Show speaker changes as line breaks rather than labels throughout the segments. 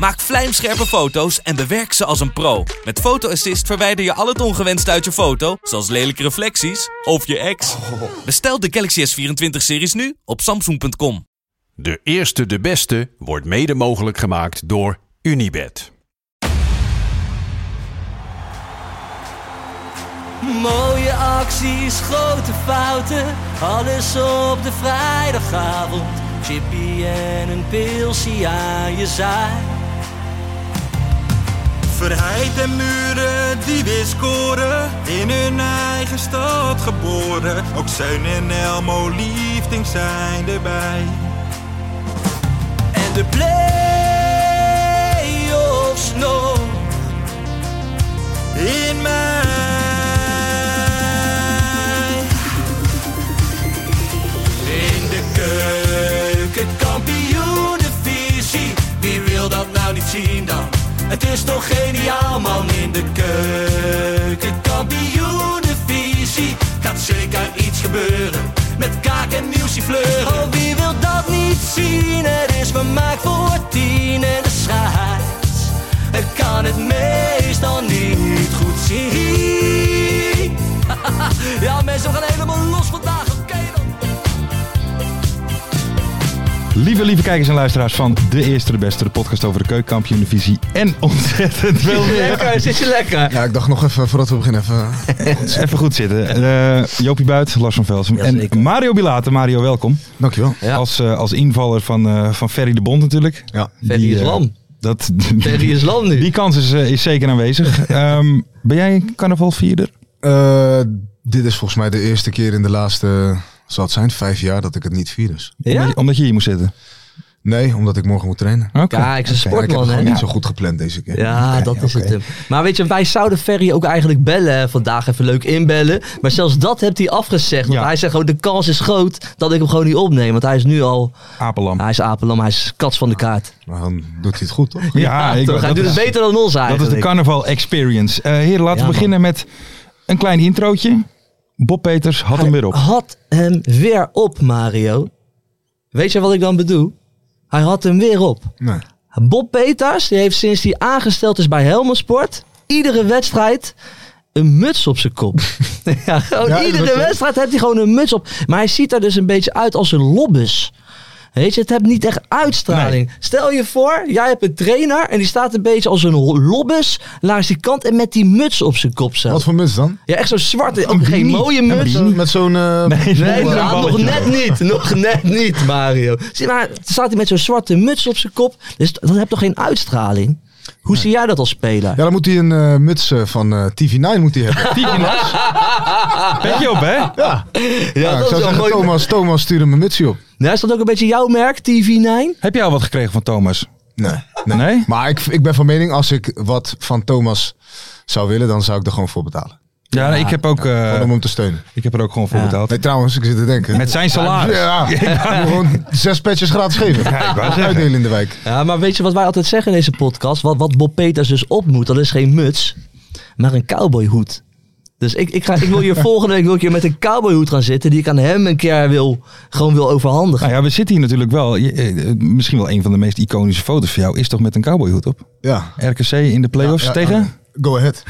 Maak vlijmscherpe foto's en bewerk ze als een pro. Met Photo Assist verwijder je al het ongewenst uit je foto, zoals lelijke reflecties of je ex. Bestel de Galaxy S24-series nu op Samsung.com.
De eerste de beste wordt mede mogelijk gemaakt door Unibed.
Mooie acties, grote fouten, alles op de vrijdagavond. Chippy en een pilsie aan je zaai.
Verheid en muren die weer scoren, in hun eigen stad geboren. Ook Zijn en Elmo liefding zijn erbij.
En de play-offs nog.
In mij.
In de keuken, kampioenenvisie. Wie wil dat nou niet zien dan? Het is toch geniaal man in de keuken, kampioenenvisie. Gaat zeker iets gebeuren met kaak en nieuwsie fleuren. Oh, wie wil dat niet zien? Het is vermaakt voor tien en de scheids. Het kan het meestal niet goed zien. ja mensen, we gaan helemaal los vandaag, oké dan.
Lieve, lieve kijkers en luisteraars van De Eerste de Beste, de podcast over de keukenkampioenvisie en ontzettend veel meer.
Lekker, zit je lekker?
Ja, ik dacht nog even voordat we beginnen. Even,
Even goed zitten. Eh, Jopie Buit, Lars van Velsen
Jazeker.
en Mario Bilate. Mario, welkom.
dankjewel.
Ja.
Als, eh, als invaller van, eh, van Ferry de Bond natuurlijk.
Ja.
Ferry
Die,
is
eh,
lam.
Dat,
Ferry is lam nu.
Die kans is, eh, is zeker aanwezig. Ehm, ben jij een carnavalvierder?
Eh, dit is volgens mij de eerste keer in de laatste, zal het zijn, vijf jaar dat ik het niet vier is.
Ja?
Omdat, omdat je hier moest zitten?
Nee, omdat ik morgen moet trainen.
Oké.
Ja,
En ik
ik ben
heb het
sportman, hè?
gewoon
Ja,
niet zo goed gepland deze keer.
dat is het hem. Maar weet je, wij zouden Ferry ook eigenlijk bellen vandaag. Even leuk inbellen. Maar zelfs dat heeft hij afgezegd. Want
Ja.
hij zegt gewoon, de kans is groot dat ik hem gewoon niet opneem. Want hij is nu al,
Apelam.
hij is apelam, hij is kats van de kaart.
Maar dan doet hij het goed, toch?
Ja, Ah, ik-
toch? Hij
dat
doet
is-
het beter dan ons eigenlijk.
Dat is de carnaval experience. Eh heren, laten
Ja,
we
man.
beginnen met een klein introotje. Bob Peters had hem weer op.
Hij had hem weer op, Mario. Weet je wat ik dan bedoel? Hij had hem weer op.
Nee.
Bob Peters die heeft sinds hij aangesteld is bij Helmond Sport iedere wedstrijd een muts op zijn kop. ja, gewoon
Ja, is
iedere
dat zo?
wedstrijd heeft hij gewoon een muts op. Maar hij ziet er dus een beetje uit als een lobbes. Weet je, het heeft niet echt uitstraling. Stel je voor, jij hebt een trainer en die staat een beetje als een lobbes langs die kant en met die muts op zijn kop zo.
Wat voor muts dan?
Ja, echt zo'n zwarte, ook
Een
geen
beanie.
mooie
Een
muts.
beanie.
Met zo'n... eh,
Nee,
zo'n
nou, nog
balletje.
net niet. Nog net niet, Mario. Zie, maar dan staat hij met zo'n zwarte muts op zijn kop. Dus dat heeft toch geen uitstraling? Hoe zie jij dat als speler?
Ja, dan moet hij een eh, muts eh, van eh, TV9 moet hij hebben.
Die Lars. Pet je op, hè?
Ja, ik
is
zou
wel
zeggen,
mooi.
Thomas, Thomas, stuur hem een mutsje op.
Ja, is dat ook een beetje jouw merk, TV9?
Heb jij al wat gekregen van Thomas?
Nee.
Nee?
Maar ik, ik ben van mening, als ik wat van Thomas zou willen, dan zou ik er gewoon voor betalen.
Ja, nee, ik, heb ook, eh,
Gewoon om hem te steunen.
ik heb er ook gewoon voor
Ja.
betaald.
Nee, trouwens, ik zit te denken.
Met zijn salaris.
Ja, gewoon zes petjes gratis geven. Uitdelen in de wijk.
Ja, maar weet je wat wij altijd zeggen in deze podcast? Wat, wat Bob Peters dus op moet, dat is geen muts, maar een cowboyhoed. Dus ik, ik, ga, ik wil hier volgende week wil ik hier met een cowboyhoed gaan zitten die ik aan hem een keer wil, gewoon wil overhandigen.
Nou ja, we zitten hier natuurlijk wel. je- eh, eh, misschien wel een van de meest iconische foto's van jou is toch met een cowboyhoed op?
Ja.
RKC in de playoffs
Ja, ja,
tegen?
Go ahead.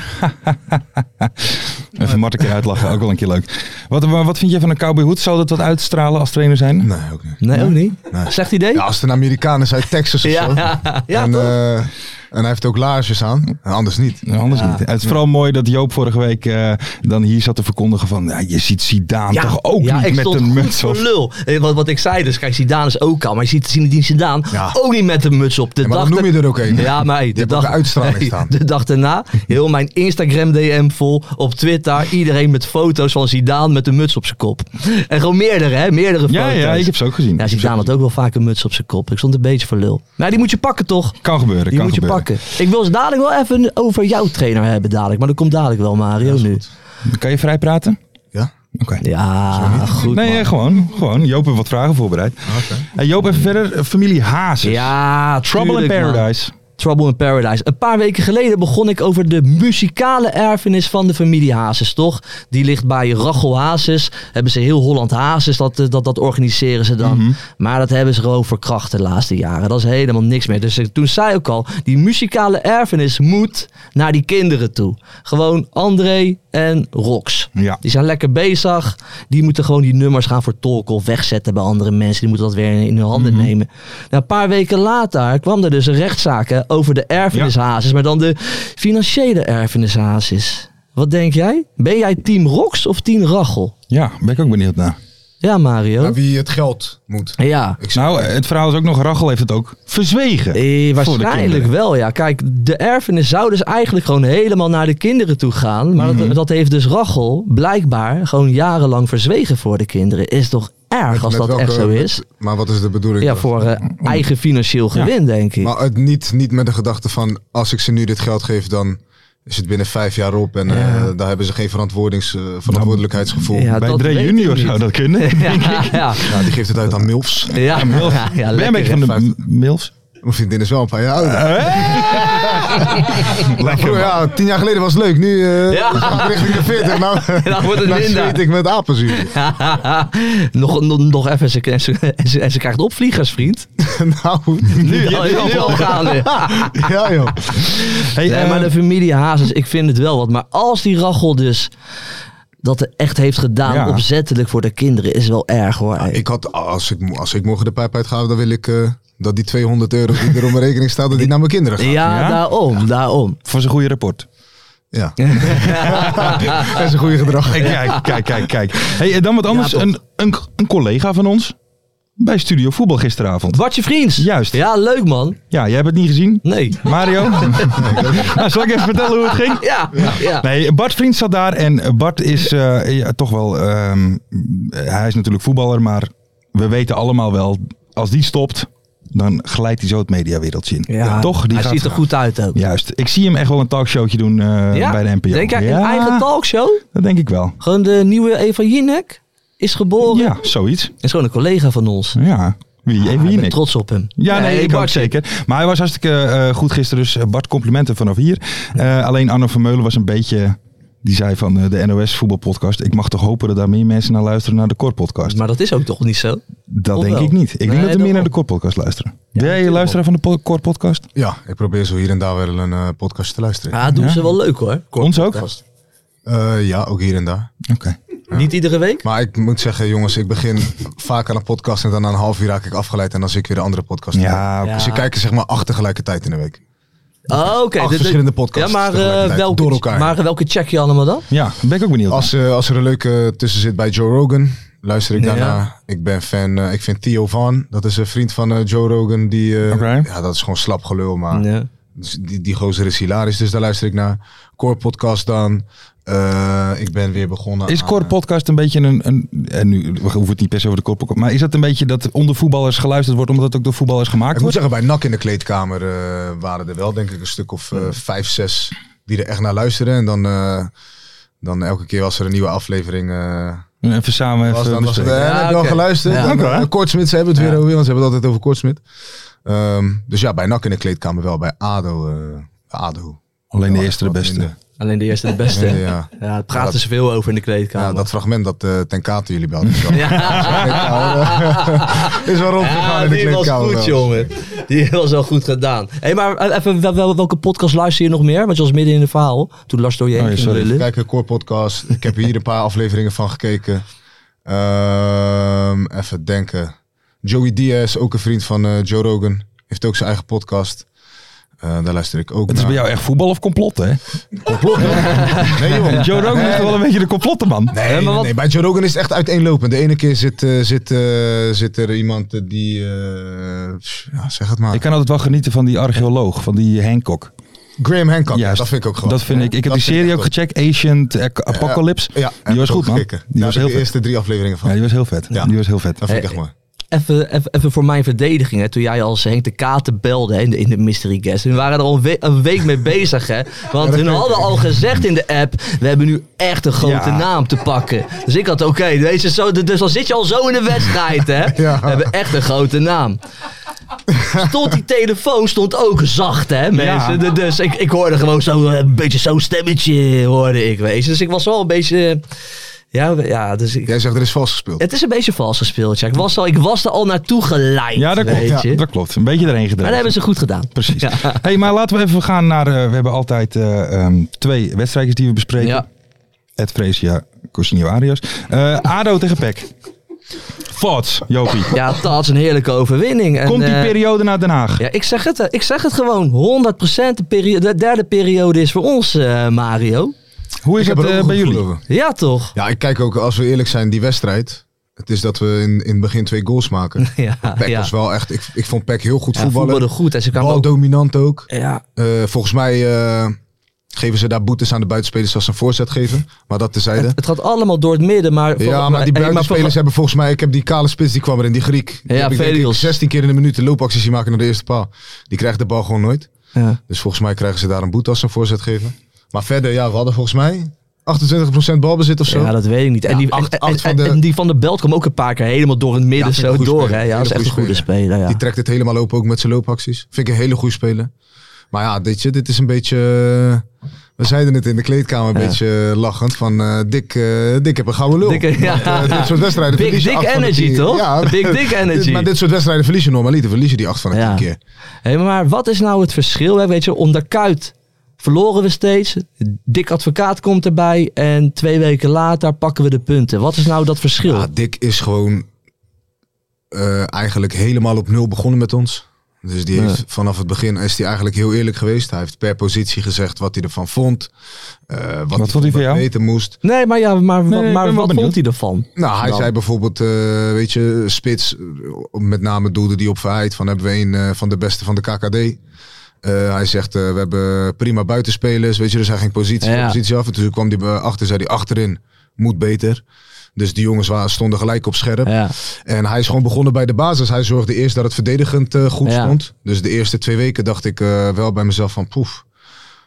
Even Mart een keer uitlachen, ook wel een keer leuk. Wat, maar wat vind jij van een cowboyhoed? Zou dat wat uitstralen als trainer zijn?
Nee, ook niet.
Nee, ook niet?
Nee.
Slecht idee?
Ja, als het een Amerikaan is uit Texas of zo.
ja,
en,
toch?
eh, en hij heeft ook laarsjes aan. En anders niet.
Ja, anders niet. Het is vooral mooi dat Joop vorige week eh, dan hier zat te verkondigen van... Ja, je ziet Zidane toch ook
ja, ik
niet met
stond
een
goed
muts
voor
op.
lul. Eh, Wat, wat ik zei dus, kijk, Zidane is ook al, maar je ziet Zinedine Zidane
Ja.
ook niet met een muts op. De
Ja, maar
dag
dan noem je
da-
er ook een.
Ja, maar hey, de,
hebt
dag,
ook een uitstraling
hey,
staan.
de dag daarna, heel mijn Instagram DM vol, op Twitter, iedereen met foto's van Zidane met een muts op zijn kop. En gewoon meerdere, hè, meerdere
Ja,
foto's.
ja, ik heb ze ook gezien.
Ja, Zidane had ook wel vaak een muts op zijn kop. Ik stond een beetje voor lul. Maar die moet je pakken, toch?
Kan gebeuren,
Die
kan
moet
gebeuren.
je pakken. Ik wil ze dadelijk wel even over jouw trainer hebben dadelijk. Maar dat komt dadelijk wel, Mario, nu.
Kan je vrij praten?
Ja?
Oké.
Ja, goed
Nee,
man.
eh, gewoon, gewoon. Joop heeft wat vragen voorbereid. En Joop, even verder. eh, Familie Hazes.
Ja,
Trouble in
tuurlijk, man.
Paradise.
Trouble in Paradise. Een paar weken geleden begon ik over de muzikale erfenis van de familie Hazes, toch? Die ligt bij Rachel Hazes. Hebben ze heel Holland Hazes, dat, eh, dat, dat organiseren ze dan.
Mhm.
Maar dat hebben ze gewoon verkracht de laatste jaren. Dat is helemaal niks meer. Dus eh, toen zei ik al, die muzikale erfenis moet naar die kinderen toe. Gewoon André en Rox.
Ja.
Die zijn lekker bezig. Die moeten gewoon die nummers gaan vertolken of wegzetten bij andere mensen. Die moeten dat weer in hun handen
Mhm.
nemen. Nou, een paar weken later kwam er dus een rechtszaak hè, over de erfenishazes. Maar dan de financiële erfenishazes. Wat denk jij? Ben jij team Rox of team Rachel?
Ja, ben ik ook benieuwd naar.
Ja, Mario.
Naar Nou, wie het geld moet.
Ja.
Nou, eh, het verhaal is ook nog, Rachel heeft het ook verzwegen. voor
Eh,
de
waarschijnlijk
kinderen.
wel, ja. Kijk, de erfenis zou dus eigenlijk gewoon helemaal naar de kinderen toe gaan. Maar
Mhm.
dat, dat heeft dus Rachel blijkbaar gewoon jarenlang verzwegen voor de kinderen. Is toch erg als
Met
dat
welke-
echt zo is?
met- maar wat is de bedoeling?
Ja,
dan?
voor eh, eigen financieel gewin, denk ik.
Maar het niet, niet met de gedachte van, als ik ze nu dit geld geef, dan is het binnen vijf jaar op. En eh, daar hebben ze geen verantwoordings, eh, verantwoordelijkheidsgevoel.
Ja,
Ja.
Bij
dat
Dre
weet
Junior
ik niet.
zou dat kunnen.
ja, ja,
die geeft het uit aan MILFs.
ja, ja, ja,
ben je een
lekker,
beetje van
hè.
de m- Milfs?
Mijn vriendin is wel een paar jaar ouder.
Eh,
Lekker.
Broer,
man.
ja, tien jaar geleden was het leuk. Nu eh
Ja.
ga ik richting de 40. Nou,
Dan wordt het
nou
minder.
zweet ik met apenzuur.
nog, nog, nog even, ze, en, ze, en ze- en ze krijgt opvliegers, vriend.
nou,
Nu, al- nu, al gaande.
ja joh.
Hey,
Nee,
eh,
maar de familie Hazes, ik vind het wel wat. Maar als die Rachel dus dat echt heeft gedaan,
Ja.
opzettelijk voor de kinderen, is wel erg hoor.
Ik had, als ik, mo- als ik morgen de pijp uitga, dan wil ik eh, dat die 200 euro die er op mijn rekening staat, dat die naar mijn kinderen gaat.
ja,
Ja?
daarom, daarom.
voor zijn goede rapport.
Ja. dat is een goede gedrag.
Hey, kijk, kijk, kijk, kijk. Hey, eh, dan wat anders.
Ja, toch.
een, een, een collega van ons bij Studio Voetbal gisteravond.
Wat je vriends.
Juist.
Ja, leuk man.
Ja, jij hebt het niet gezien?
Nee.
Mario? nou, zal ik even vertellen hoe het ging?
Ja, ja.
Nee, Bart Vriend zat daar en Bart is eh, ja, toch wel. ehm, hij is natuurlijk voetballer, maar we weten allemaal wel, als die stopt, dan glijdt hij zo het mediawereldje in.
Ja,
toch? Die
hij
gaat-
ziet er goed uit ook.
Juist. Ik zie hem echt wel een talkshowtje doen eh,
Ja?
bij de NPO.
Denk jij
ja,
een eigen talkshow?
Dat denk ik wel.
Gewoon de nieuwe Eva Jinek is geboren.
Ja, zoiets.
Is gewoon een collega van ons.
Ja. Wie,
Ah,
wie
ik ben
niks.
trots op hem.
Ja, nee, ik ook
Bartje.
zeker. Maar hij was hartstikke eh, goed gisteren. Dus eh, Bart, complimenten vanaf hier. Eh, alleen Arno Vermeulen was een beetje... Die zei van eh, de NOS voetbalpodcast. Ik mag toch hopen dat daar meer mensen naar luisteren naar de korpodcast.
Maar dat is ook toch niet zo?
dat
of
denk
wel?
ik niet. Ik
Nee,
denk dat er meer
daarom.
naar de korpodcast luisteren. ben jij
natuurlijk
luisteraar van de po- korpodcast?
Ja, ik probeer zo hier en daar wel een eh, podcast te luisteren.
Ja, dat doen
Ja.
ze wel leuk hoor.
Ons ook?
Podcast.
Eh, ja, ook hier en daar.
Oké.
Niet iedere week?
Maar ik moet zeggen, jongens, ik begin vaak aan een podcast en dan na een half uur raak ik afgeleid en dan zie ik weer een andere podcast.
Ja,
Ja.
Dus je kijkt er zeg maar acht tegelijkertijd in de week.
Oh, oké.
Acht
Dit- dit-
verschillende podcasts
Ja, maar, eh,
tegelijkertijd,
welke,
door elkaar.
maar eh, welke check je allemaal dan?
ja, daar ben ik ook benieuwd. naar.
Als, eh, als er een leuke tussen zit bij Joe Rogan, luister ik
Ja.
daarna. Ik ben fan, eh, ik vind Theo Van, dat is een vriend van eh, Joe Rogan, die, eh,
Oké.
ja, dat is gewoon slap gelul, maar
Ja.
dus die, die gozer is hilarisch, dus daar luister ik naar. Core Podcast dan, Eh, ik ben weer begonnen
Is
aan, eh,
korpodcast een beetje een, een... En nu we hoeven het niet per se over de korpodcast. Maar is dat een beetje dat onder voetballers geluisterd wordt... omdat het ook door voetballers gemaakt
Ik moet
wordt?
zeggen, bij NAC in de kleedkamer eh, waren er wel denk ik een stuk of eh, vijf, zes die er echt naar luisteren. En dan, eh, dan elke keer als er een nieuwe aflevering eh,
Even samen...
was,
even
dan was het, eh,
bespreken.
heb je
oké.
al geluisterd?
Ja.
Dan,
Oké.
eh, Kortsmit, ze hebben het weer over, want ze hebben het altijd over Kortsmit. Ehm, dus ja, bij NAC in de kleedkamer wel, bij ADO. eh, bij ADO.
Alleen de
Ja,
eerste de
wat
beste.
minder.
Alleen de eerste de beste.
Ja,
ja,
ja.
daar praten ze veel over in de
Ja,
kleedkamer.
dat fragment dat eh ten Kate jullie belden. is wel-
Ja.
Is wel rondgegaan
Ja,
in de
Ah, die was
kleedkamer.
goed,
wel.
jongen. Die was wel goed gedaan. Hé, hey, maar eh, even, wel- wel- welke podcast luister je nog meer? Want je was midden in het verhaal. Toen las door je heen
Oh, ja,
ging
sorry.
lullen.
Kijk, een core podcast. Ik heb hier een paar afleveringen van gekeken. Ehm, even denken. Joey Diaz, ook een vriend van eh, Joe Rogan. Heeft ook zijn eigen podcast. Eh, daar luister ik ook
Het is bij
naar.
jou echt voetbal of complot, hè?
Nee, joh.
Joe Rogan is toch wel een beetje de complottenman.
Nee,
Hè, maar wat-
nee, bij Joe Rogan is het echt uiteenlopend. De ene keer zit, eh, zit, eh, zit er iemand eh, die... eh, pff, ja, zeg het maar.
Ik kan altijd wel genieten van die archeoloog, van die Hancock.
Graham Hancock,
Juist.
dat vind ik ook gewoon.
Dat vind ik. Ik heb
Dat
die
vind
serie
ik
ook
echt
gecheckt, Ancient eh, Apocalypse.
Ja,
die was goed, man.
Die
Die was heel
de
vet.
eerste drie afleveringen van.
Ja, Eh, die was heel vet.
Ja.
Die was heel vet.
Dat vind ik
Hey,
echt mooi.
even, even, even voor mijn verdediging. Hè. Toen jij als Henk de Katen belde hè, in, de, in de mystery guest. We waren er al een, we- een week mee bezig. Hè. Want hun hadden al gezegd in de app. We hebben nu echt een grote
Ja.
naam te pakken. Dus ik had oké. deze zo- dus dan zit je al zo in de wedstrijd. Hè.
Ja.
We hebben echt een grote naam. Stond die telefoon stond ook zacht, hè, mensen.
Ja.
Dus ik, ik hoorde gewoon zo eh, een beetje zo'n stemmetje, hoorde ik wees. Dus ik was wel een beetje... eh, Ja, we- ja dus ik,
Jij zegt er is vals gespeeld.
het is een beetje vals gespeeld, ja. Ik was, al, ik was er al naartoe geleid,
Ja, dat
weet
klopt.
je.
Ja, dat klopt. Een beetje erheen
Maar dat
gedreven.
hebben ze goed gedaan.
Precies. Hey, maar laten we even gaan naar. eh, we hebben altijd eh, ehm, twee wedstrijdjes die we bespreken:
Ja.
Ed Fresia, Cosinio Arias. Eh, Ado tegen Peck. Thoughts, Jopie.
Ja, dat is een heerlijke overwinning. En,
Komt die
eh,
periode naar Den Haag?
Ja, ik zeg het, eh, ik zeg het gewoon. 100% de, perio- de derde periode is voor ons, eh, Mario.
Hoe is
Ik heb
het eh,
er ook een
bij
gevoel
jullie?
over.
Ja, toch?
Ja, ik kijk ook, als we eerlijk zijn, die wedstrijd. Het is dat we in, in het begin twee goals maken.
Ja,
Peck
ja.
was wel echt, ik, ik vond Peck heel goed
ja,
voetballen.
voetballen goed. En ze kwamen
Bal
ook...
dominant ook.
Ja,
Eh, volgens mij eh, geven ze daar boetes aan de buitenspelers als ze een voorzet geven. Maar dat tezijde.
Het gaat allemaal door het midden, maar...
ja, maar die buitenspelers hebben volgens mij... Ik heb die kale spits, die kwam erin, die Griek. Die
Ja,
heb ik denk ik
Velios.
16 keer in de minuut de loopacties die maken naar de eerste paal. Die krijgt de bal gewoon nooit.
Ja.
Dus volgens mij krijgen ze daar een boete als ze een voorzet geven. Maar verder, ja, we hadden volgens mij 28% balbezit of zo.
ja, dat weet ik niet. en,
Ja,
die,
acht-
en-
acht
en-
van de-
en die van de Belt kwam ook een paar keer helemaal door het midden
Ja, vind ik
zo
een goede
door.
speler.
Hè? Ja, dat is
Hele
echt een goede
goede
speler. ja.
Die trekt het helemaal open ook met zijn loopacties. Vind ik een hele goede speler. Maar ja, dit, dit is een beetje... eh, We zeiden het in de kleedkamer een
Ja.
beetje eh, lachend. Van eh Dick, eh, Dick heb een gouden lul.
Dikke- ja.
Eh, dit soort wedstrijden
Big
verlies je
dick
acht van de
energy,
tien.
toch?
Ja,
Big dick energy.
Maar dit soort wedstrijden verlies je normaliter. Verlies je die acht van de
Ja.
tien keer.
Hé, maar wat is nou het verschil? Hè? Weet je, onder Kuit verloren we steeds. Dik advocaat komt erbij. En twee weken later pakken we de punten. Wat is nou dat verschil?
Ja, Ah, Dick is gewoon eh, eigenlijk helemaal op nul begonnen met ons. Dus die heeft, vanaf het begin is hij eigenlijk heel eerlijk geweest. Hij heeft per positie gezegd wat hij ervan vond. eh, wat,
vond hij van jou?
beter moest.
Nee, maar, ja, maar,
Nee, ik
maar
ben wel
wat
benieuwd.
vond hij ervan?
Nou, hij
Dan.
zei bijvoorbeeld, eh, weet je, Spits, eh, met name doelde die op verheid. Van hebben we een eh, van de beste van de KKD. Eh, hij zegt, eh, we hebben prima buitenspelers, weet je. Dus hij ging positie,
Ja.
positie af. En toen kwam hij bij- achter, zei hij, achterin moet beter. Dus die jongens wa- stonden gelijk op scherp.
Ja.
En hij is gewoon begonnen bij de basis. Hij zorgde eerst dat het verdedigend eh, goed
Ja.
stond. Dus de eerste twee weken dacht ik eh, wel bij mezelf van poef.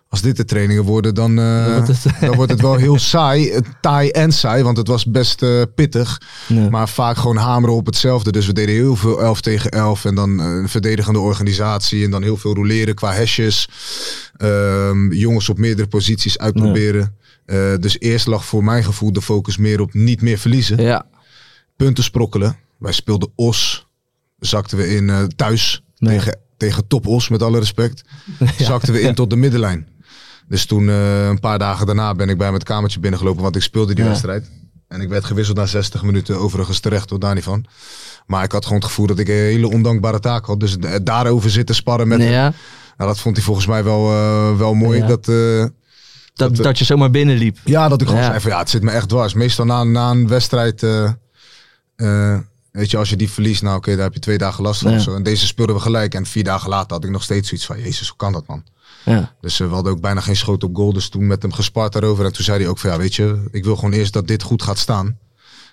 Als dit de trainingen worden, dan, eh, dan, wordt het... wel heel saai. Eh, Taai en saai, want het was best eh, pittig.
Ja.
Maar vaak gewoon hameren op hetzelfde. Dus we deden heel veel 11 tegen 11. En dan eh, een verdedigende organisatie. En dan heel veel roleren qua hesjes. Ehm, jongens op meerdere posities uitproberen. Eh, dus eerst lag voor mijn gevoel de focus meer op niet meer verliezen
Ja.
punten sprokkelen. Wij speelden Os. Zakten we in eh, thuis
Nee.
tegen, tegen top Os, met alle respect. Zakten we in tot de middenlijn. Dus toen eh, een paar dagen daarna ben ik bij mijn kamertje binnengelopen, want ik speelde die
Ja.
wedstrijd. En ik werd gewisseld na 60 minuten, overigens terecht hoor, daar niet van. Maar ik had gewoon het gevoel dat ik een hele ondankbare taak had. Dus eh, daarover zitten sparren met
Nee,
hem.
ja.
Nou, dat vond hij volgens mij wel, eh, wel mooi.
Ja.
Dat, eh,
Dat, dat je zomaar binnenliep.
ja, dat ik gewoon
Ja.
zei van ja, het zit me echt dwars. Meestal na, na een wedstrijd, eh, eh, weet je, als je die verliest, nou oké, daar heb je twee dagen last van.
Ja.
of Zo. En deze speelden we gelijk. En vier dagen later had ik nog steeds zoiets van, jezus, hoe kan dat man?
Ja.
Dus eh, we hadden ook bijna geen schot op goal. Dus toen met hem gespart daarover. En toen zei hij ook van ja, weet je, ik wil gewoon eerst dat dit goed gaat staan.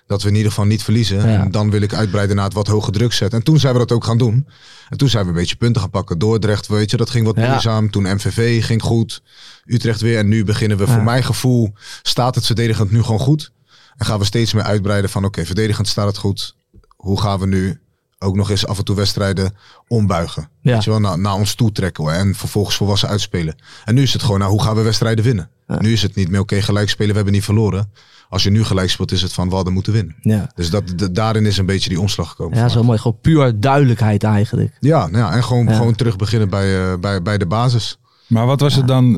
Dat we in ieder geval niet verliezen.
Ja.
En dan wil ik uitbreiden naar het wat hoger druk zetten. En toen zijn we dat ook gaan doen. En toen zijn we een beetje punten gaan pakken. Dordrecht, weet je, dat ging wat
Ja.
moeizaam. Toen MVV ging goed. Utrecht weer. En nu beginnen we, voor mijn gevoel, staat het verdedigend nu gewoon goed. En gaan we steeds meer uitbreiden van oké, verdedigend staat het goed. Hoe gaan we nu ook nog eens af en toe wedstrijden ombuigen?
Ja.
Weet je wel, naar, naar ons toe trekken hoor, en vervolgens volwassen uitspelen. En nu is het gewoon, nou, hoe gaan we wedstrijden winnen? Nu is het niet meer oké, gelijk spelen, we hebben niet verloren. Als je nu gelijk speelt, is het van we hadden moeten winnen.
Ja.
Dus dat, d- daarin is een beetje die omslag gekomen.
Ja, dat is
voor
wel
mij.
mooi. Gewoon puur duidelijkheid eigenlijk.
ja, nou ja, en gewoon,
Ja.
gewoon terug beginnen bij, eh, bij, bij de basis.
Maar wat was het dan?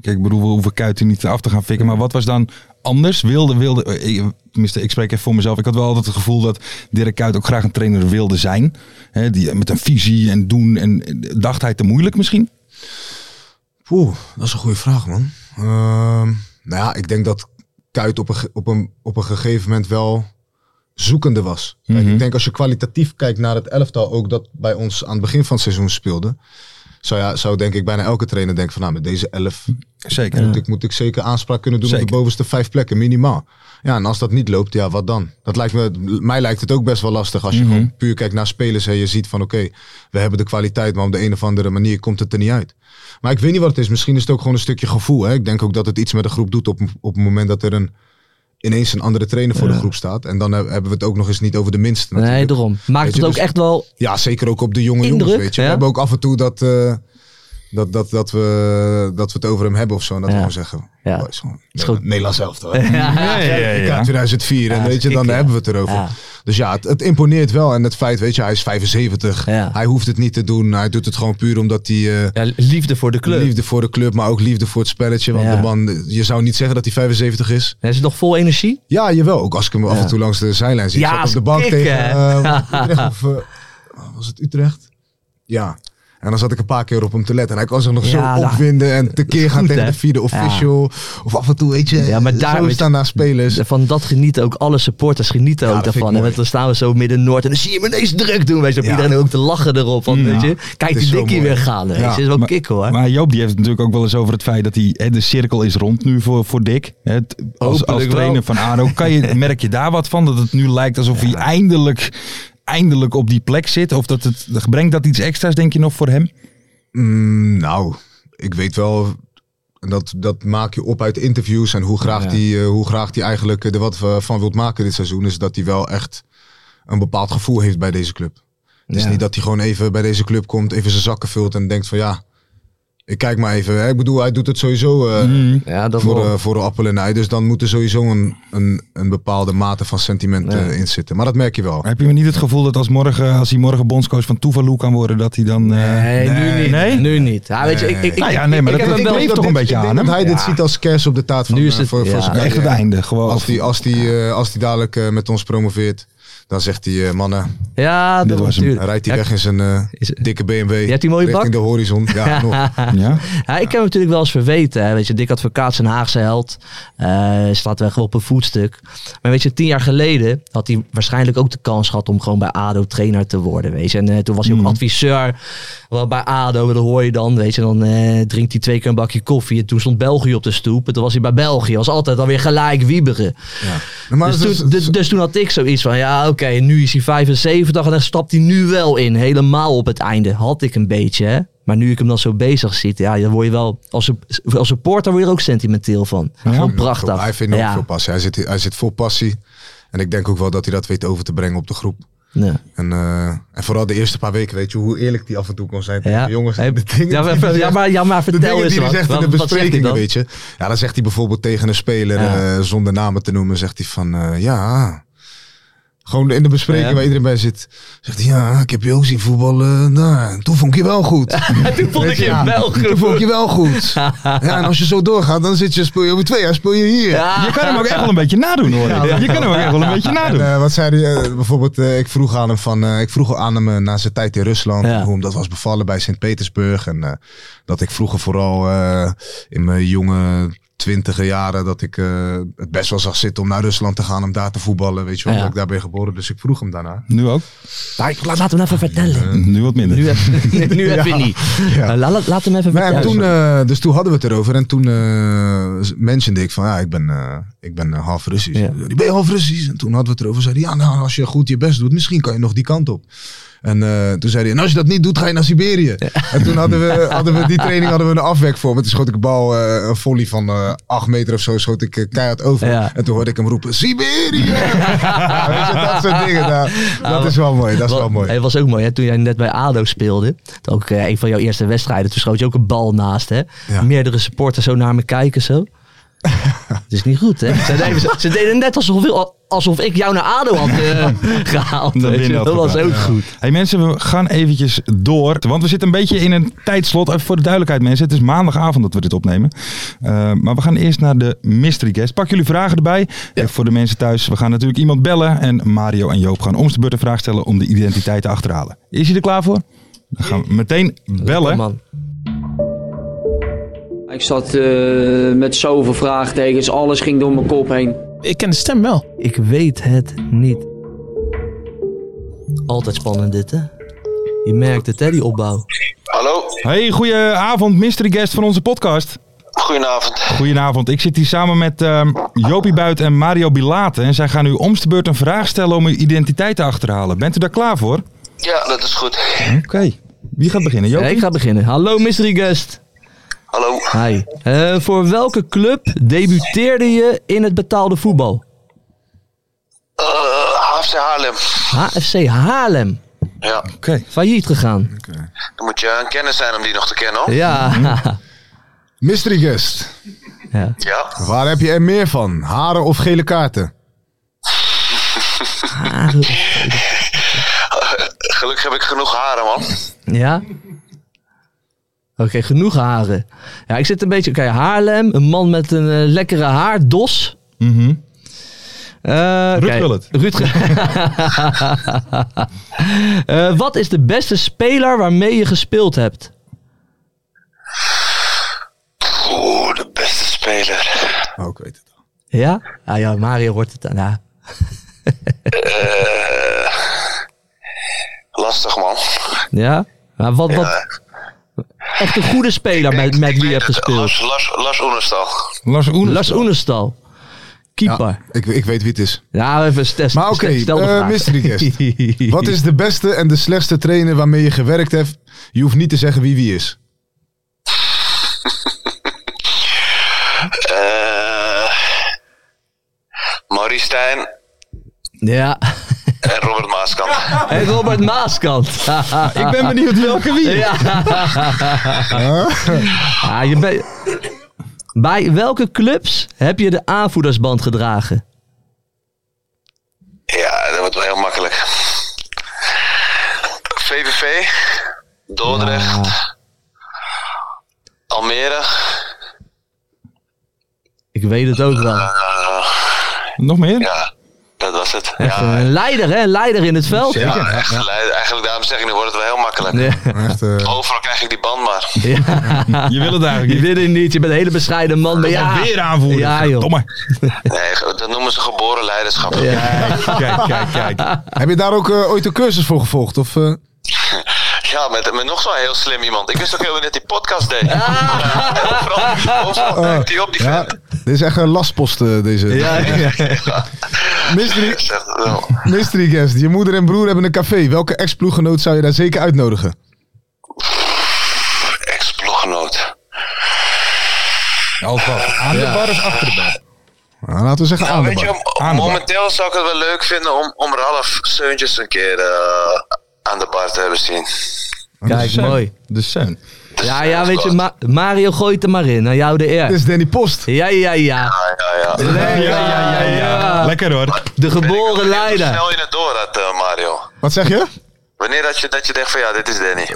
Kijk, ik bedoel, we hoeven Kuiten niet af te gaan fikken. Maar wat was dan anders? Wilde, wilde, eh, ik- tenminste, ik spreek even voor mezelf. Ik had wel altijd het gevoel dat Dirk Kuit ook graag een trainer wilde zijn. Hè, die, met een visie en doen. En eh, dacht hij te moeilijk misschien?
Oeh, dat is een goede vraag, man. Ehm, nou ja, ik denk dat Kuit op een, ge- op een, op een gegeven moment wel zoekende was. Kijk,
Mhm.
Ik denk als je kwalitatief kijkt naar het elftal, ook dat bij ons aan het begin van het seizoen speelde. Zou, ja, zou denk ik bijna elke trainer denken van nou, met deze elf
Zeker.
Moet, ik, moet ik zeker aanspraak kunnen doen op
Zeker.
de bovenste vijf plekken, minimaal. Ja, en als dat niet loopt, ja, wat dan? Dat lijkt me, mij lijkt het ook best wel lastig als je gewoon puur kijkt naar spelers en je ziet van oké, we hebben de kwaliteit, maar op de een of andere manier komt het er niet uit. Maar ik weet niet wat het is. Misschien is het ook gewoon een stukje gevoel. Hè? Ik denk ook dat het iets met de groep doet op, op het moment dat er een, ineens een andere trainer voor de groep staat. En dan he- hebben we het ook nog eens niet over de minste.
Nee,
natuurlijk.
daarom. Maakt
Weet
het
je,
ook
dus-
echt wel...
Ja, zeker ook op de jonge
Indruk,
jongens, weet je.
ja.
We hebben ook af en toe dat, eh, dat, dat, dat, we, dat we het over hem hebben of zo. En dat
Ja.
we gewoon zeggen,
Ja.
boys, gewoon,
is goed.
Nederlands elftal. hè.
Ja, ja, ja.
EK 2004 en
Ja,
weet je,
kicken.
dan hebben we het erover.
Ja.
Dus ja, het, het imponeert wel. En het feit, weet je, hij is 75.
Ja.
Hij hoeft het niet te doen. Hij doet het gewoon puur omdat hij... eh,
Ja, liefde voor de club.
Liefde voor de club, maar ook liefde voor het spelletje. Want
Ja.
de man, je zou niet zeggen dat hij 75 is.
Hij zit nog vol energie.
Ja, jawel. Ook als ik hem af
Ja.
en toe langs de zijlijn zie.
Ja,
ik zat
als
op de bank
kikker.
tegen eh, Utrecht of... eh, was het Utrecht? Ja. En dan zat ik een paar keer op hem te letten. En hij kon zich nog
Ja,
zo
nou,
opwinden en tekeer gaan
goed,
tegen
hè?
de vierde official. Of af en toe, weet je,
Ja, maar daar-
zo
weet
staan daar spelers.
Van dat genieten ook alle supporters genieten
Ja,
ook
dat vind
daarvan.
ik
En
mooi.
dan staan we zo midden Noord en dan zie je hem ineens druk doen. Weet je, op
Ja. Mm.
iedereen ook te lachen erop. Van, weet je, kijk
is
die
zo
dikkie
mooi.
weer gaan. Weet je.
Ja,
Dat is wel
maar-
kick hoor.
Maar Joop die heeft het natuurlijk ook wel eens over het feit dat hij, hè, de cirkel is rond nu voor, voor Dick. Het, als, als
Hopelijk wel.
trainer van ADO, kan je, merk je daar wat van? Dat het nu lijkt alsof hij eindelijk, eindelijk op die plek zit? Of dat het, brengt dat iets extra's denk je nog voor hem?
Mm, nou, ik weet wel. Dat, dat maak je op uit interviews. En hoe graag, die, eh, hoe graag die eigenlijk eh, er wat eh, van wilt maken dit seizoen. Is dat hij wel echt een bepaald gevoel heeft bij deze club. Het is niet dat hij gewoon even bij deze club komt. Even zijn zakken vult en denkt van ja. Ik kijk maar even. Hè. Ik bedoel, hij doet het sowieso eh,
ja, dat
voor,
wel.
eh, voor de appel en ei. Dus dan moet er sowieso een, een, een bepaalde mate van sentiment eh, in zitten. Maar dat merk je wel.
Heb je niet het gevoel dat als, morgen, als hij morgen bondscoach van Tuvalu kan worden, dat hij dan... eh,
Nee, nu niet.
Nee?
Nu niet. Ja, weet je, ik, ik,
Nou
ik-
ja, nee, maar
ik
dat-
heb hem
dat
wel-
leeft
dat
toch een
dit-
beetje
ik denk
aan
dat
hem?
hij dit ziet als kers op de taart van
Nu is
eh,
het-
voor, voor
ja.
zijn
Echt het
carrière.
einde, gewoon.
Als die, als die, eh, als die dadelijk eh, met ons promoveert, dan zegt hij, eh, mannen,
Ja,
was
dat was
hem.
natuurlijk.
dan rijdt hij
Ja,
weg in zijn eh,
Is-
dikke BMW
heeft die mooie
richting
bak?
de horizon. Ja, nog.
ja?
Ja, ik heb hem natuurlijk wel eens verweten. Hè. Weet je, Dick Advocaat, zijn Haagse held, eh, slaat weg op een voetstuk. Maar weet je, tien jaar geleden had hij waarschijnlijk ook de kans gehad om gewoon bij ADO trainer te worden. Weet je. En eh, toen was hij ook adviseur wel bij ADO. Dat hoor je dan, weet je. En Dan eh, drinkt hij twee keer een bakje koffie. En toen stond België op de stoep. En toen was hij bij België. Was altijd alweer gelijk wieberen.
Maar
Dus,
het is-
toen, dus, dus toen had ik zoiets van, ja oké, nu is hij 75 en dan stapt hij nu wel in. Helemaal op het einde had ik een beetje, hè. Maar nu ik hem dan zo bezig zit, ja, dan word je wel, als, sup- als supporter word je er ook sentimenteel van. Gewoon prachtig.
Hij vindt ook
ja.
veel passie. Hij zit, hij zit vol passie. En ik denk ook wel dat hij dat weet over te brengen op de groep.
Ja.
En, eh, en vooral de eerste paar weken, weet je, hoe eerlijk die af en toe kon zijn tegen
Ja.
de jongens.
Hey,
De dingen
ja,
die
maar-
hij
ja,
zegt.
maar, ja, maar
De
vertel
dingen
eens
die hij
wat.
zegt
Wat-
in de
wat zegt hij
besprekingen,
dan?
weet je. Ja, dan zegt hij bijvoorbeeld tegen een speler,
Ja.
eh, zonder namen te noemen, zegt hij van, eh, ja... Gewoon in de bespreking
Ja.
waar iedereen bij zit. Zegt hij, ja, ik heb je ook zien voetballen. Nou, toen vond ik je wel goed.
Toen vond ik
Weet je,
je
ja.
wel
toen vond ik je
goed.
wel goed. Ja, en als je zo doorgaat, dan zit je, speel je over twee jaar, speel je hier.
Ja.
Je kan hem ook echt wel een beetje nadoen hoor. Je kan hem ook echt wel een beetje
En,
nadoen.
eh, wat zei hij? eh, bijvoorbeeld, eh, ik vroeg aan hem van, eh, ik vroeg aan hem eh, na zijn tijd in Rusland
Ja.
hoe hem dat was bevallen bij Sint-Petersburg en eh, dat ik vroeger vooral eh, in mijn jonge twintige jaren dat ik eh, het best wel zag zitten om naar Rusland te gaan om daar te voetballen, weet je wel,
Ja.
omdat ik daar ben geboren. Dus ik vroeg hem daarna.
Nu ook?
Laat, laat hem even vertellen.
Nu wat minder.
Nu even, nu even
Ja.
niet.
Ja.
Nou, laat, laat hem even
Maar en
vertellen.
toen, eh, dus toen hadden we het erover en toen eh mentionde ik van ja, ik ben, eh, ik ben eh, half Russisch.
Ja.
Die ben je half Russisch? En toen hadden we het erover. Zei hij, ja, nou, als je goed je best doet, misschien kan je nog die kant op. En eh, toen zei hij, en als je dat niet doet, ga je naar Siberië. En toen hadden we, hadden we die training hadden we een afwek voor. Maar toen schoot ik een bal, eh, een volley van eh acht meter of zo, schoot ik eh, keihard over.
Ja.
En toen hoorde ik hem roepen, Siberië! Ja, weet je, dat soort dingen. nou, dat is wel mooi, dat is
Wa-
wel mooi.
Het was ook mooi, hè? toen jij net bij ADO speelde. dat Ook eh, een van jouw eerste wedstrijden. Toen schoot je ook een bal naast, hè?
Ja.
Meerdere supporters zo naar me kijken, zo. Het is niet goed, hè? Ze deden, ze- ze deden net alsof, alsof ik jou naar ADO had eh, gehaald.
Dan
weet
win
je.
dat
Dat was
gedaan.
ook goed.
Hey mensen, we gaan eventjes door. Want we zitten een beetje in een tijdslot. Even voor de duidelijkheid mensen, het is maandagavond dat we dit opnemen. Uh, maar we gaan eerst naar de mystery guest. Pak jullie vragen erbij. Even voor de mensen thuis. We gaan natuurlijk iemand bellen. En Mario en Joop gaan om de beurt een vraag stellen om de identiteit te achterhalen. Is hij er klaar voor? Dan gaan we meteen
Lekker,
bellen.
man.
Ik zat eh, met zoveel vraagtekens, alles ging door mijn kop heen.
Ik ken de stem wel.
Ik weet het niet. Altijd spannend dit, hè? Je merkt het, hè, die opbouw.
Hallo?
Hey, goeie avond mystery guest van onze podcast.
goedenavond.
Goedenavond, ik zit hier samen met ehm, Jopie Buit en Mario Bilate. En zij gaan u om de beurt een vraag stellen om uw identiteit te achterhalen. Bent u daar klaar voor?
Ja, dat is goed.
Oké. Wie gaat beginnen,
Hm? Ja,
Jopie?
ik ga beginnen. Hallo Mystery Guest.
Hallo.
Hi. Eh, voor welke club debuteerde je in het betaalde voetbal?
Eh, HFC Haarlem.
HFC Haarlem.
Ja,
Oké.
Failliet gegaan.
dan moet je een kennis zijn om die nog te kennen hoor.
Ja.
Mystery guest.
ja.
Ja.
Waar heb je er meer van? Haren of gele kaarten?
Gelukkig heb ik genoeg haren man.
Ja? Oké, genoeg haren. Ja, ik zit een beetje... Oké, Haarlem. Een man met een eh, lekkere haardos.
Mhm.
Eh,
Ruud
oké,
Gullit.
Ruud Gullit. Eh, wat is de beste speler waarmee je gespeeld hebt?
Oeh, de beste speler.
Oh, ik weet het al.
Ja? Ah ja, Mario wordt het aan. Ja.
Lastig man.
ja? Maar wat, wat... Echt een goede speler met, met
Ik
wie je
weet
hebt
het.
gespeeld.
Lars, Lars, Lars Oenestal.
Lars Oenes.
Lars Oenestal. Keeper.
Ik, ik weet wie het is.
Ja, even stel,
Maar oké,
stel de
eh,
vraag.
mystery guest. Wat is de beste en de slechtste trainer waarmee je gewerkt hebt? Je hoeft niet te zeggen wie wie is.
Eh Maurice Stijn
Ja.
en Robert Maaskamp.
En Robert Maaskant.
Ik
Ah.
ben benieuwd welke wie.
Ja. Ja, je bent- Bij welke clubs heb je de aanvoerdersband gedragen?
Ja, dat wordt wel heel makkelijk. VVV, Dordrecht, Almere,
Ik weet het ook wel.
Nog meer?
ja, dat was het.
Echt eh,
Ja,
een leider, hè? Een leider in het veld.
Zeker.
ja, echt geleid. Eigenlijk, daarom zeg ik, nu wordt het wel heel makkelijk.
Nee.
Echt, eh,
Overal krijg ik die band maar.
Je wil het
Je
eigenlijk niet.
weet het niet. Je bent een hele bescheiden man. Maar ja.
Weer aanvoeren.
Ja, joh.
Domme.
Nee, dat noemen ze geboren leiderschap. Ja,
Kijk, kijk, kijk.
heb je daar ook eh, ooit een cursus voor gevolgd? Of, eh?
met, met nog zo'n heel slim iemand. Ik wist ook heel net die podcast deed. Overal, overal duikt die op, die
ja,
vent.
dit is echt een lastpost eh, deze. Mystery,
Zeg, nou, wel.
mystery guest, je moeder en broer hebben een café. Welke ex-ploeggenoot zou je daar zeker uitnodigen?
Ex-ploeggenoot.
Alvast. Aan de bar is achter de bar.
Nou, laten we zeggen
Nou,
aan de
weet je,
bar.
mo-
Aan de bar.
momenteel zou ik het wel leuk vinden om, om Ralf Seuntjes een keer eh, aan de bar te hebben zien.
Kijk, mooi.
De Seun.
Dus,
Ja,
eh,
ja,
dat
weet
is
je,
wat.
Ma- Mario gooit er maar in. Aan jou de
Dit
eer.
is Danny Post.
Ja, ja, ja.
Ja, ja, ja.
Lekker, ja.
Lekker hoor.
De geboren
Hoe
leider.
snel je het door had, eh, Mario?
Wat zeg je?
Wanneer dat je, dat je denkt van ja, dit is Danny.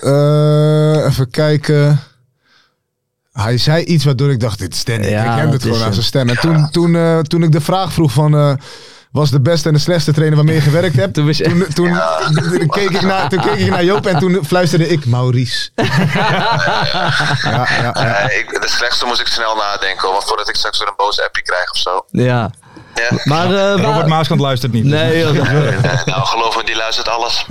Eh, even kijken. Hij zei iets waardoor ik dacht, dit is Danny.
Ja,
ik herkende
dat
het gewoon
is
aan
hem.
zijn stem. En toen, toen, eh, toen ik de vraag vroeg van... eh, was de beste en de slechtste trainer waarmee je gewerkt hebt?
Toen
Toen,
was je-
toen, keek ik naar, toen keek ik naar Joop en toen fluisterde ik Maurice. ja, ja, ja.
Eh, ik, de slechtste moest ik snel nadenken, hoor, want voordat ik straks weer een boze appje krijg of zo.
Ja.
Ja.
Maar eh, waar-
Robert Maaskant luistert niet.
Nee, joh.
Eh, nou, geloof me, die luistert alles.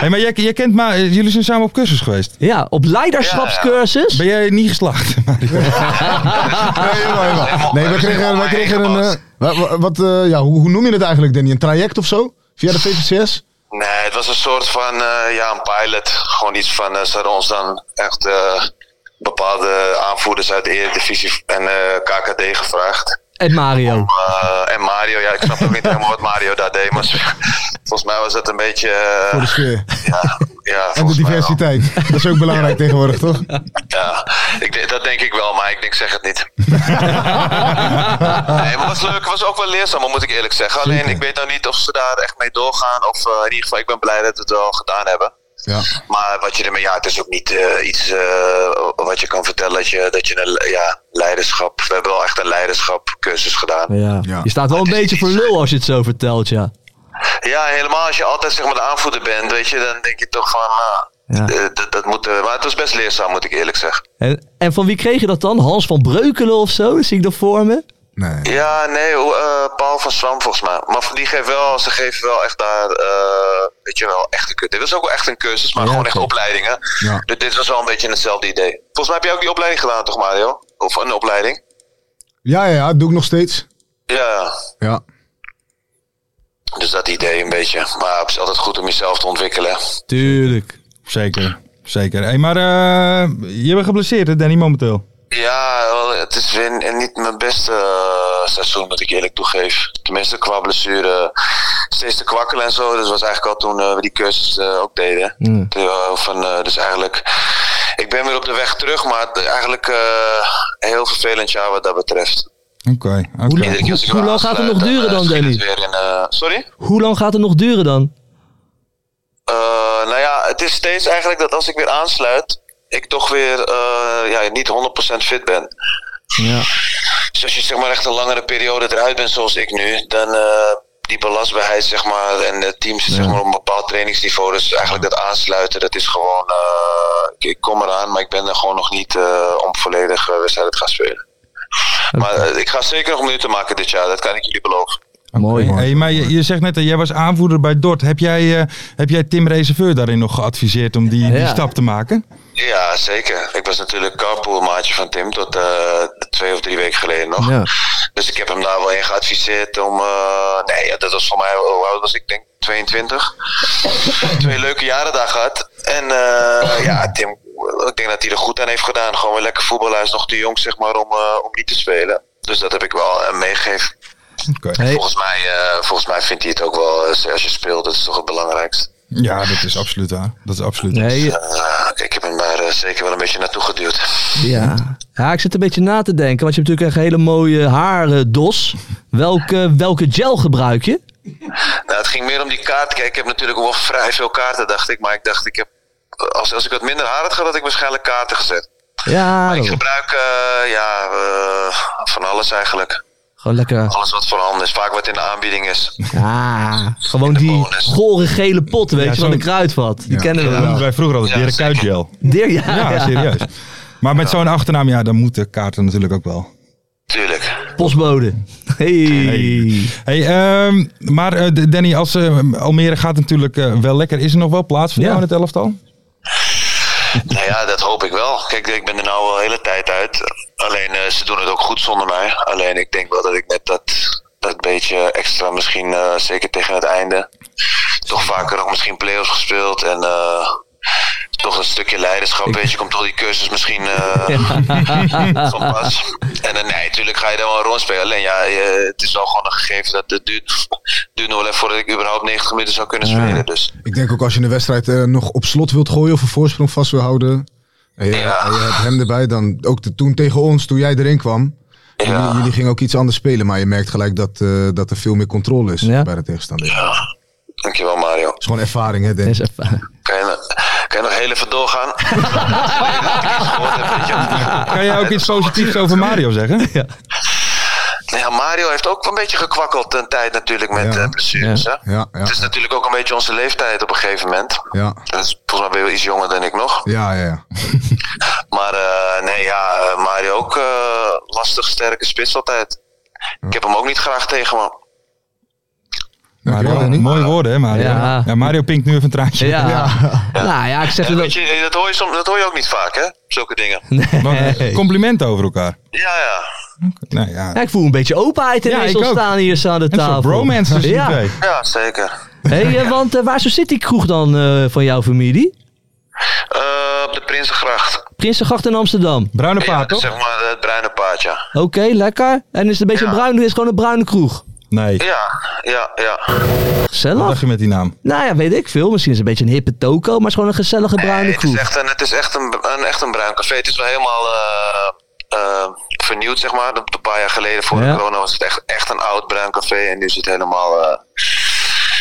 Hey, maar jij, jij kent Ma eh, jullie zijn samen op cursus geweest.
Ja, op leiderschapscursus.
Ben jij niet geslaagd? Mario?
Nee, helemaal, helemaal. Nee, we kregen, we kregen een... eh, wa- wa- wat, eh, ja, hoe, hoe noem je het eigenlijk, Danny? Een traject of zo? Via de VVCS?
Nee, het was een soort van eh, ja, een pilot. Gewoon iets van eh, ze hadden ons dan echt eh, bepaalde aanvoerders uit de Eredivisie en eh, KKD gevraagd.
En Mario.
Eh, en Mario, ja, ik snap ook niet helemaal wat Mario daar deed, maar volgens mij was dat een beetje. eh,
Voor de sfeer.
ja, ja,
En de
volgens mij wel.
diversiteit. Dat is ook belangrijk tegenwoordig, toch?
Ja, ik, denk- dat denk ik wel, maar ik denk, zeg het niet. nee, maar het was leuk, het was ook wel leerzaam, moet ik eerlijk zeggen. Alleen ik weet nou niet of ze daar echt mee doorgaan. Of eh, in ieder geval, ik ben blij dat we het wel gedaan hebben.
Ja.
Maar wat je ermee, ja, het is ook niet eh, iets eh, wat je kan vertellen dat je, dat je een ja, leiderschap. We hebben wel echt een leiderschapcursus gedaan.
Ja.
Ja.
Je staat wel een beetje voor lul als je het zo vertelt, ja.
Ja, helemaal als je altijd zeg maar de aanvoerder bent, weet je, dan denk je toch van. ah,
Ja.
eh, dat- dat moet, eh, maar het was best leerzaam, moet ik eerlijk zeggen.
En, en van wie kreeg je dat dan? Hans van Breukelen of zo? Zie ik dat voor me?
Nee.
Ja, nee, hoe, eh, Paul van Swam volgens mij. Maar die geeft wel, ze geven wel echt daar eh, Weet je wel, echt een cursus. Dit was ook wel echt een cursus, maar
Ja,
gewoon
oké.
echt opleidingen.
Ja.
Dus dit was wel een beetje hetzelfde idee. Volgens mij heb jij ook die opleiding gedaan, toch Mario? Of een opleiding?
Ja, ja, ja, doe ik nog steeds.
Ja,
Ja.
dus dat idee een beetje. Maar het is altijd goed om jezelf te ontwikkelen.
Tuurlijk. Zeker. Zeker. Hey, maar eh, je bent geblesseerd, hè, Danny, momenteel.
Ja, wel, het is weer n- niet mijn beste eh, seizoen, moet ik eerlijk toegeef. Tenminste, qua blessure. eh, Steeds te kwakkelen en zo. Dat was eigenlijk al toen eh, we die cursus eh, ook deden.
Mm.
Toen, eh, van, eh, dus eigenlijk, ik ben weer op de weg terug, maar het- eigenlijk eh, heel vervelend jaar wat dat betreft.
Oké. oké.
Iedere keer als ik
hoe
weer
lang gaat het
aansluit,
nog duren
eh,
dan,
schiet het
Danny?
weer in, eh, sorry?
Hoe lang gaat het nog duren dan?
Eh, nou ja, het is steeds eigenlijk dat als ik weer aansluit, ik toch weer eh, ja, niet 100% fit ben.
Ja.
Dus als je zeg maar echt een langere periode eruit bent zoals ik nu, dan eh, die belastbaarheid zeg maar, en het team zit zeg maar, op een bepaald trainingsniveau. Dus eigenlijk dat aansluiten, dat is gewoon, eh, ik, ik kom eraan, maar ik ben er gewoon nog niet eh, om volledig eh, wedstrijden te gaan spelen. Maar eh, ik ga zeker nog minuten maken dit jaar, dat kan ik jullie beloven.
Mooi.
Hey, maar je, je zegt net dat jij was aanvoerder bij Dort. Heb jij, eh, heb jij Tim Reserveur daarin nog geadviseerd om die, die
Ja.
stap te maken?
Ja, zeker. Ik was natuurlijk carpoolmaatje van Tim tot eh, twee of drie weken geleden nog.
Ja.
Dus ik heb hem daar wel in geadviseerd om... eh, nee, ja, dat was voor mij... Hoe oud was ik? Ik denk 22. Twee leuke jaren daar gehad. En eh, ja, Tim... Ik denk dat hij er goed aan heeft gedaan. Gewoon weer lekker voetballen. Hij is nog te jong, zeg maar, om, eh, om niet te spelen. Dus dat heb ik wel eh, meegegeven.
Hey,
Volgens, mij, eh, volgens mij vindt hij het ook wel... eh, als je speelt, dat is toch het belangrijkste.
Ja, dat is absoluut waar. Dat is absoluut waar.
nee,
Eh, ik heb hem daar eh, zeker wel een beetje naartoe geduwd.
ja. ja, ik zit een beetje na te denken, want je hebt natuurlijk echt hele mooie haardos. Welke, welke gel gebruik je?
Nou, het ging meer om die kaart. Kijk, ik heb natuurlijk wel vrij veel kaarten, dacht ik. Maar ik dacht, ik heb, als, als ik wat minder haar had gehad, had ik waarschijnlijk kaarten gezet.
Ja,
Maar ik
joh.
gebruik eh, ja, eh, van alles eigenlijk.
gewoon lekker.
Alles wat voorhanden is. Vaak wat in de aanbieding is.
Ah, gewoon die
bonus.
gore gele pot, weet
Ja,
je, van de
zo'n-
kruidvat. Die kennen
Dat
we wel.
noemden wij vroeger altijd
Ja,
Dirk
zeker.
Kuitgel.
Deer, ja,
Ja,
ja.
serieus. Maar met zo'n achternaam, ja, dan moeten kaarten natuurlijk ook wel.
Tuurlijk.
Postbode. Hey.
Hey, ehm, maar eh, D- Danny, als eh, Almere gaat natuurlijk eh, wel lekker. Is er nog wel plaats voor
Ja.
jou in het elftal?
Nou ja, dat hoop ik wel. Kijk, ik ben er nou al een hele tijd uit. Alleen, eh, ze doen het ook goed zonder mij. Alleen, ik denk wel dat ik net dat, dat beetje extra misschien, eh, zeker tegen het einde, toch vaker nog misschien play-offs gespeeld. En eh, toch een stukje leiderschap, weet je, komt toch die cursus misschien eh, van pas. En eh, nee, natuurlijk ga je daar wel een rol spelen. Alleen, ja, je- het is wel gewoon een gegeven dat het duurt, duurt nog wel even voordat ik überhaupt 90 minuten zou kunnen spelen. Dus
Ik denk ook als je een wedstrijd eh, nog op slot wilt gooien of een voorsprong vast wil houden. En je,
Ja.
en je hebt hem erbij, dan ook de, toen tegen ons, toen jij erin kwam. Jullie, jullie gingen ook iets anders spelen, maar je merkt gelijk dat, eh, dat er veel meer controle is
Ja.
bij de tegenstander. Het
ja, dankjewel Mario.
is gewoon ervaring, hè, denk
Is
ik.
even-
Kan je, nog- kan je nog heel even doorgaan?
Kan jij ook iets positiefs over Mario zeggen?
Nou ja, Mario heeft ook een beetje gekwakkeld een tijd natuurlijk met
Ja.
eh, blessures. hè?
Ja, ja,
Het is natuurlijk ook een beetje onze leeftijd op een gegeven moment.
ja.
Dus volgens mij ben je wel iets jonger dan ik nog.
Ja, ja, ja.
Maar eh, nee, ja, eh, Mario ook eh, lastig, sterke spits altijd. Ik heb hem ook niet graag tegen me.
Dankjewel,
Mario,
Danny.
mooie woorden, hè, Mario?
Ja.
Ja. Mario pinkt nu even een traantje.
Ja. Nou ja, ik zeg
Ja,
het
weet
ook.
je, eh, dat hoor je, soms, dat hoor je ook niet vaak, hè? Zulke dingen.
Want, eh, Complimenten over elkaar.
Ja, ja.
Nou ja,
Ja, ik voel een beetje openheid in
Ja,
ja,
ik ook.
ontstaan hier zo aan de
een soort
tafel.
bromance tussen die
ja.
twee.
Ja, zeker.
Hey, eh, want eh, waar zo zit die kroeg dan eh, van jouw familie?
Eh, op de Prinsengracht.
Prinsengracht in Amsterdam.
Bruine
Ja,
paard,
dat is
toch?
zeg maar het bruine paard, ja.
Oké, lekker. En is het een beetje
Ja.
een bruine, is gewoon een bruine kroeg.
Nee.
Ja, ja, ja.
Wat dacht
Gezellig.
je met die naam?
Nou ja, weet ik veel. Misschien is het een beetje een hippe toko, maar het is gewoon een gezellige bruine
Nee, het is
kroeg.
echt een, het is echt een, een, echt een bruin café. Het is wel helemaal eh, eh, vernieuwd, zeg maar. Een paar jaar geleden, voor
Ja.
de corona, was het echt, echt een oud bruin café. En nu is het helemaal... eh,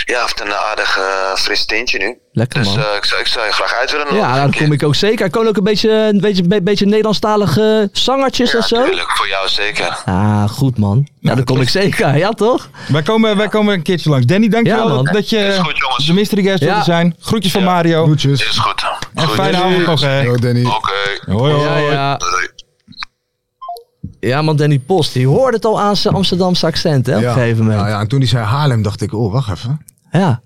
ja, heeft een aardig eh, fris tintje nu.
Lekker
Dus
man.
eh, ik, zou, ik zou je graag uit willen
Ja, daar kom ik ook zeker. Er komen ook een beetje, een beetje, een beetje Nederlandstalige zangertjes en zo.
Tuurlijk, voor jou zeker.
Ah, goed man. Ja, daar kom ik zeker. Ja, toch?
Wij komen, wij komen een keertje langs. Danny,
Ja,
dankjewel
man.
dat
Is
je
goed, jongens.
de mystery guest wilde
Ja.
zijn. Groetjes van Mario.
Oh. Groetjes.
Is Oh. goed.
En
Goed.
fijne avond nog, hè.
Yo, Danny.
Oké.
Hoi, hoi.
Ja, ja.
Doei.
ja, man, Danny Post, die hoorde het al aan zijn Amsterdamse accent hè, op een gegeven moment.
Ja, ja, en toen hij zei Haarlem, dacht ik, oh, wacht even.
Ja.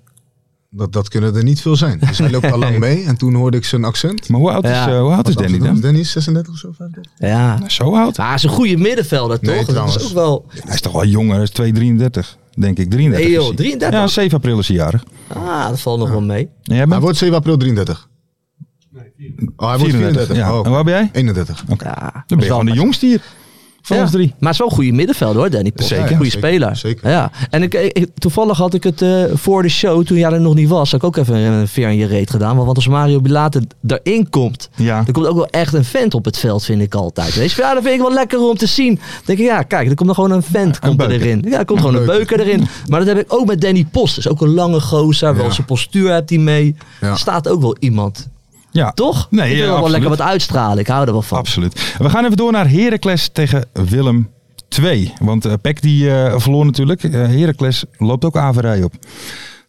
Dat, dat kunnen er niet veel zijn. Dus hij loopt al lang mee en toen hoorde ik zijn accent.
Maar hoe oud is,
Ja.
eh, hoe oud is
Wat
Danny
Amsterdam?
dan?
Danny is 36 of zo, 35.
Ja.
Zo oud?
Maar hij is een goede middenvelder, toch?
Nee, trouwens.
Dat is ook wel...
Hij is toch wel jonger, hij is 2, 33, denk ik. 33
Nee,
is
joh,
hij.
33?
Ja, 7 april is hij jarig.
Ah, dat valt nog wel mee.
En jij
Hij
bent
wordt 7 april 33. Oh, hij wordt 34.
Ja.
Oh,
En waar ben jij?
31.
Ja,
Dan ben je gewoon de jongste hier. Van
Ja,
ons drie.
Maar het is wel een goede middenvelder hoor, Danny Post.
Zeker.
Een goede
Ja, zeker,
speler.
zeker.
Ja. En ik, ik- toevallig had ik het eh, voor de show, toen jij er nog niet was, had ik ook even een veer in je reet gedaan. Want als Mario Bilate erin komt,
Ja.
er komt ook wel echt een vent op het veld, vind ik altijd. Weet je? Ja, dat vind ik wel lekker om te zien. Dan denk ik, ja, kijk, er komt er gewoon een vent komt er
beuker.
erin. Ja, er komt gewoon een beuker erin. Maar dat heb ik ook met Danny Post. Dat is ook een lange gozer. Wel
Ja.
zijn postuur hebt hij mee.
Ja.
Er staat ook wel iemand.
Ja.
Toch?
Nee,
ik wil
ja,
wel
absoluut.
lekker wat uitstralen. Ik hou er wel van.
Absoluut. We gaan even door naar Heracles tegen Willem 2. Want eh Peck die eh, verloor natuurlijk. Eh, Heracles loopt ook averij op.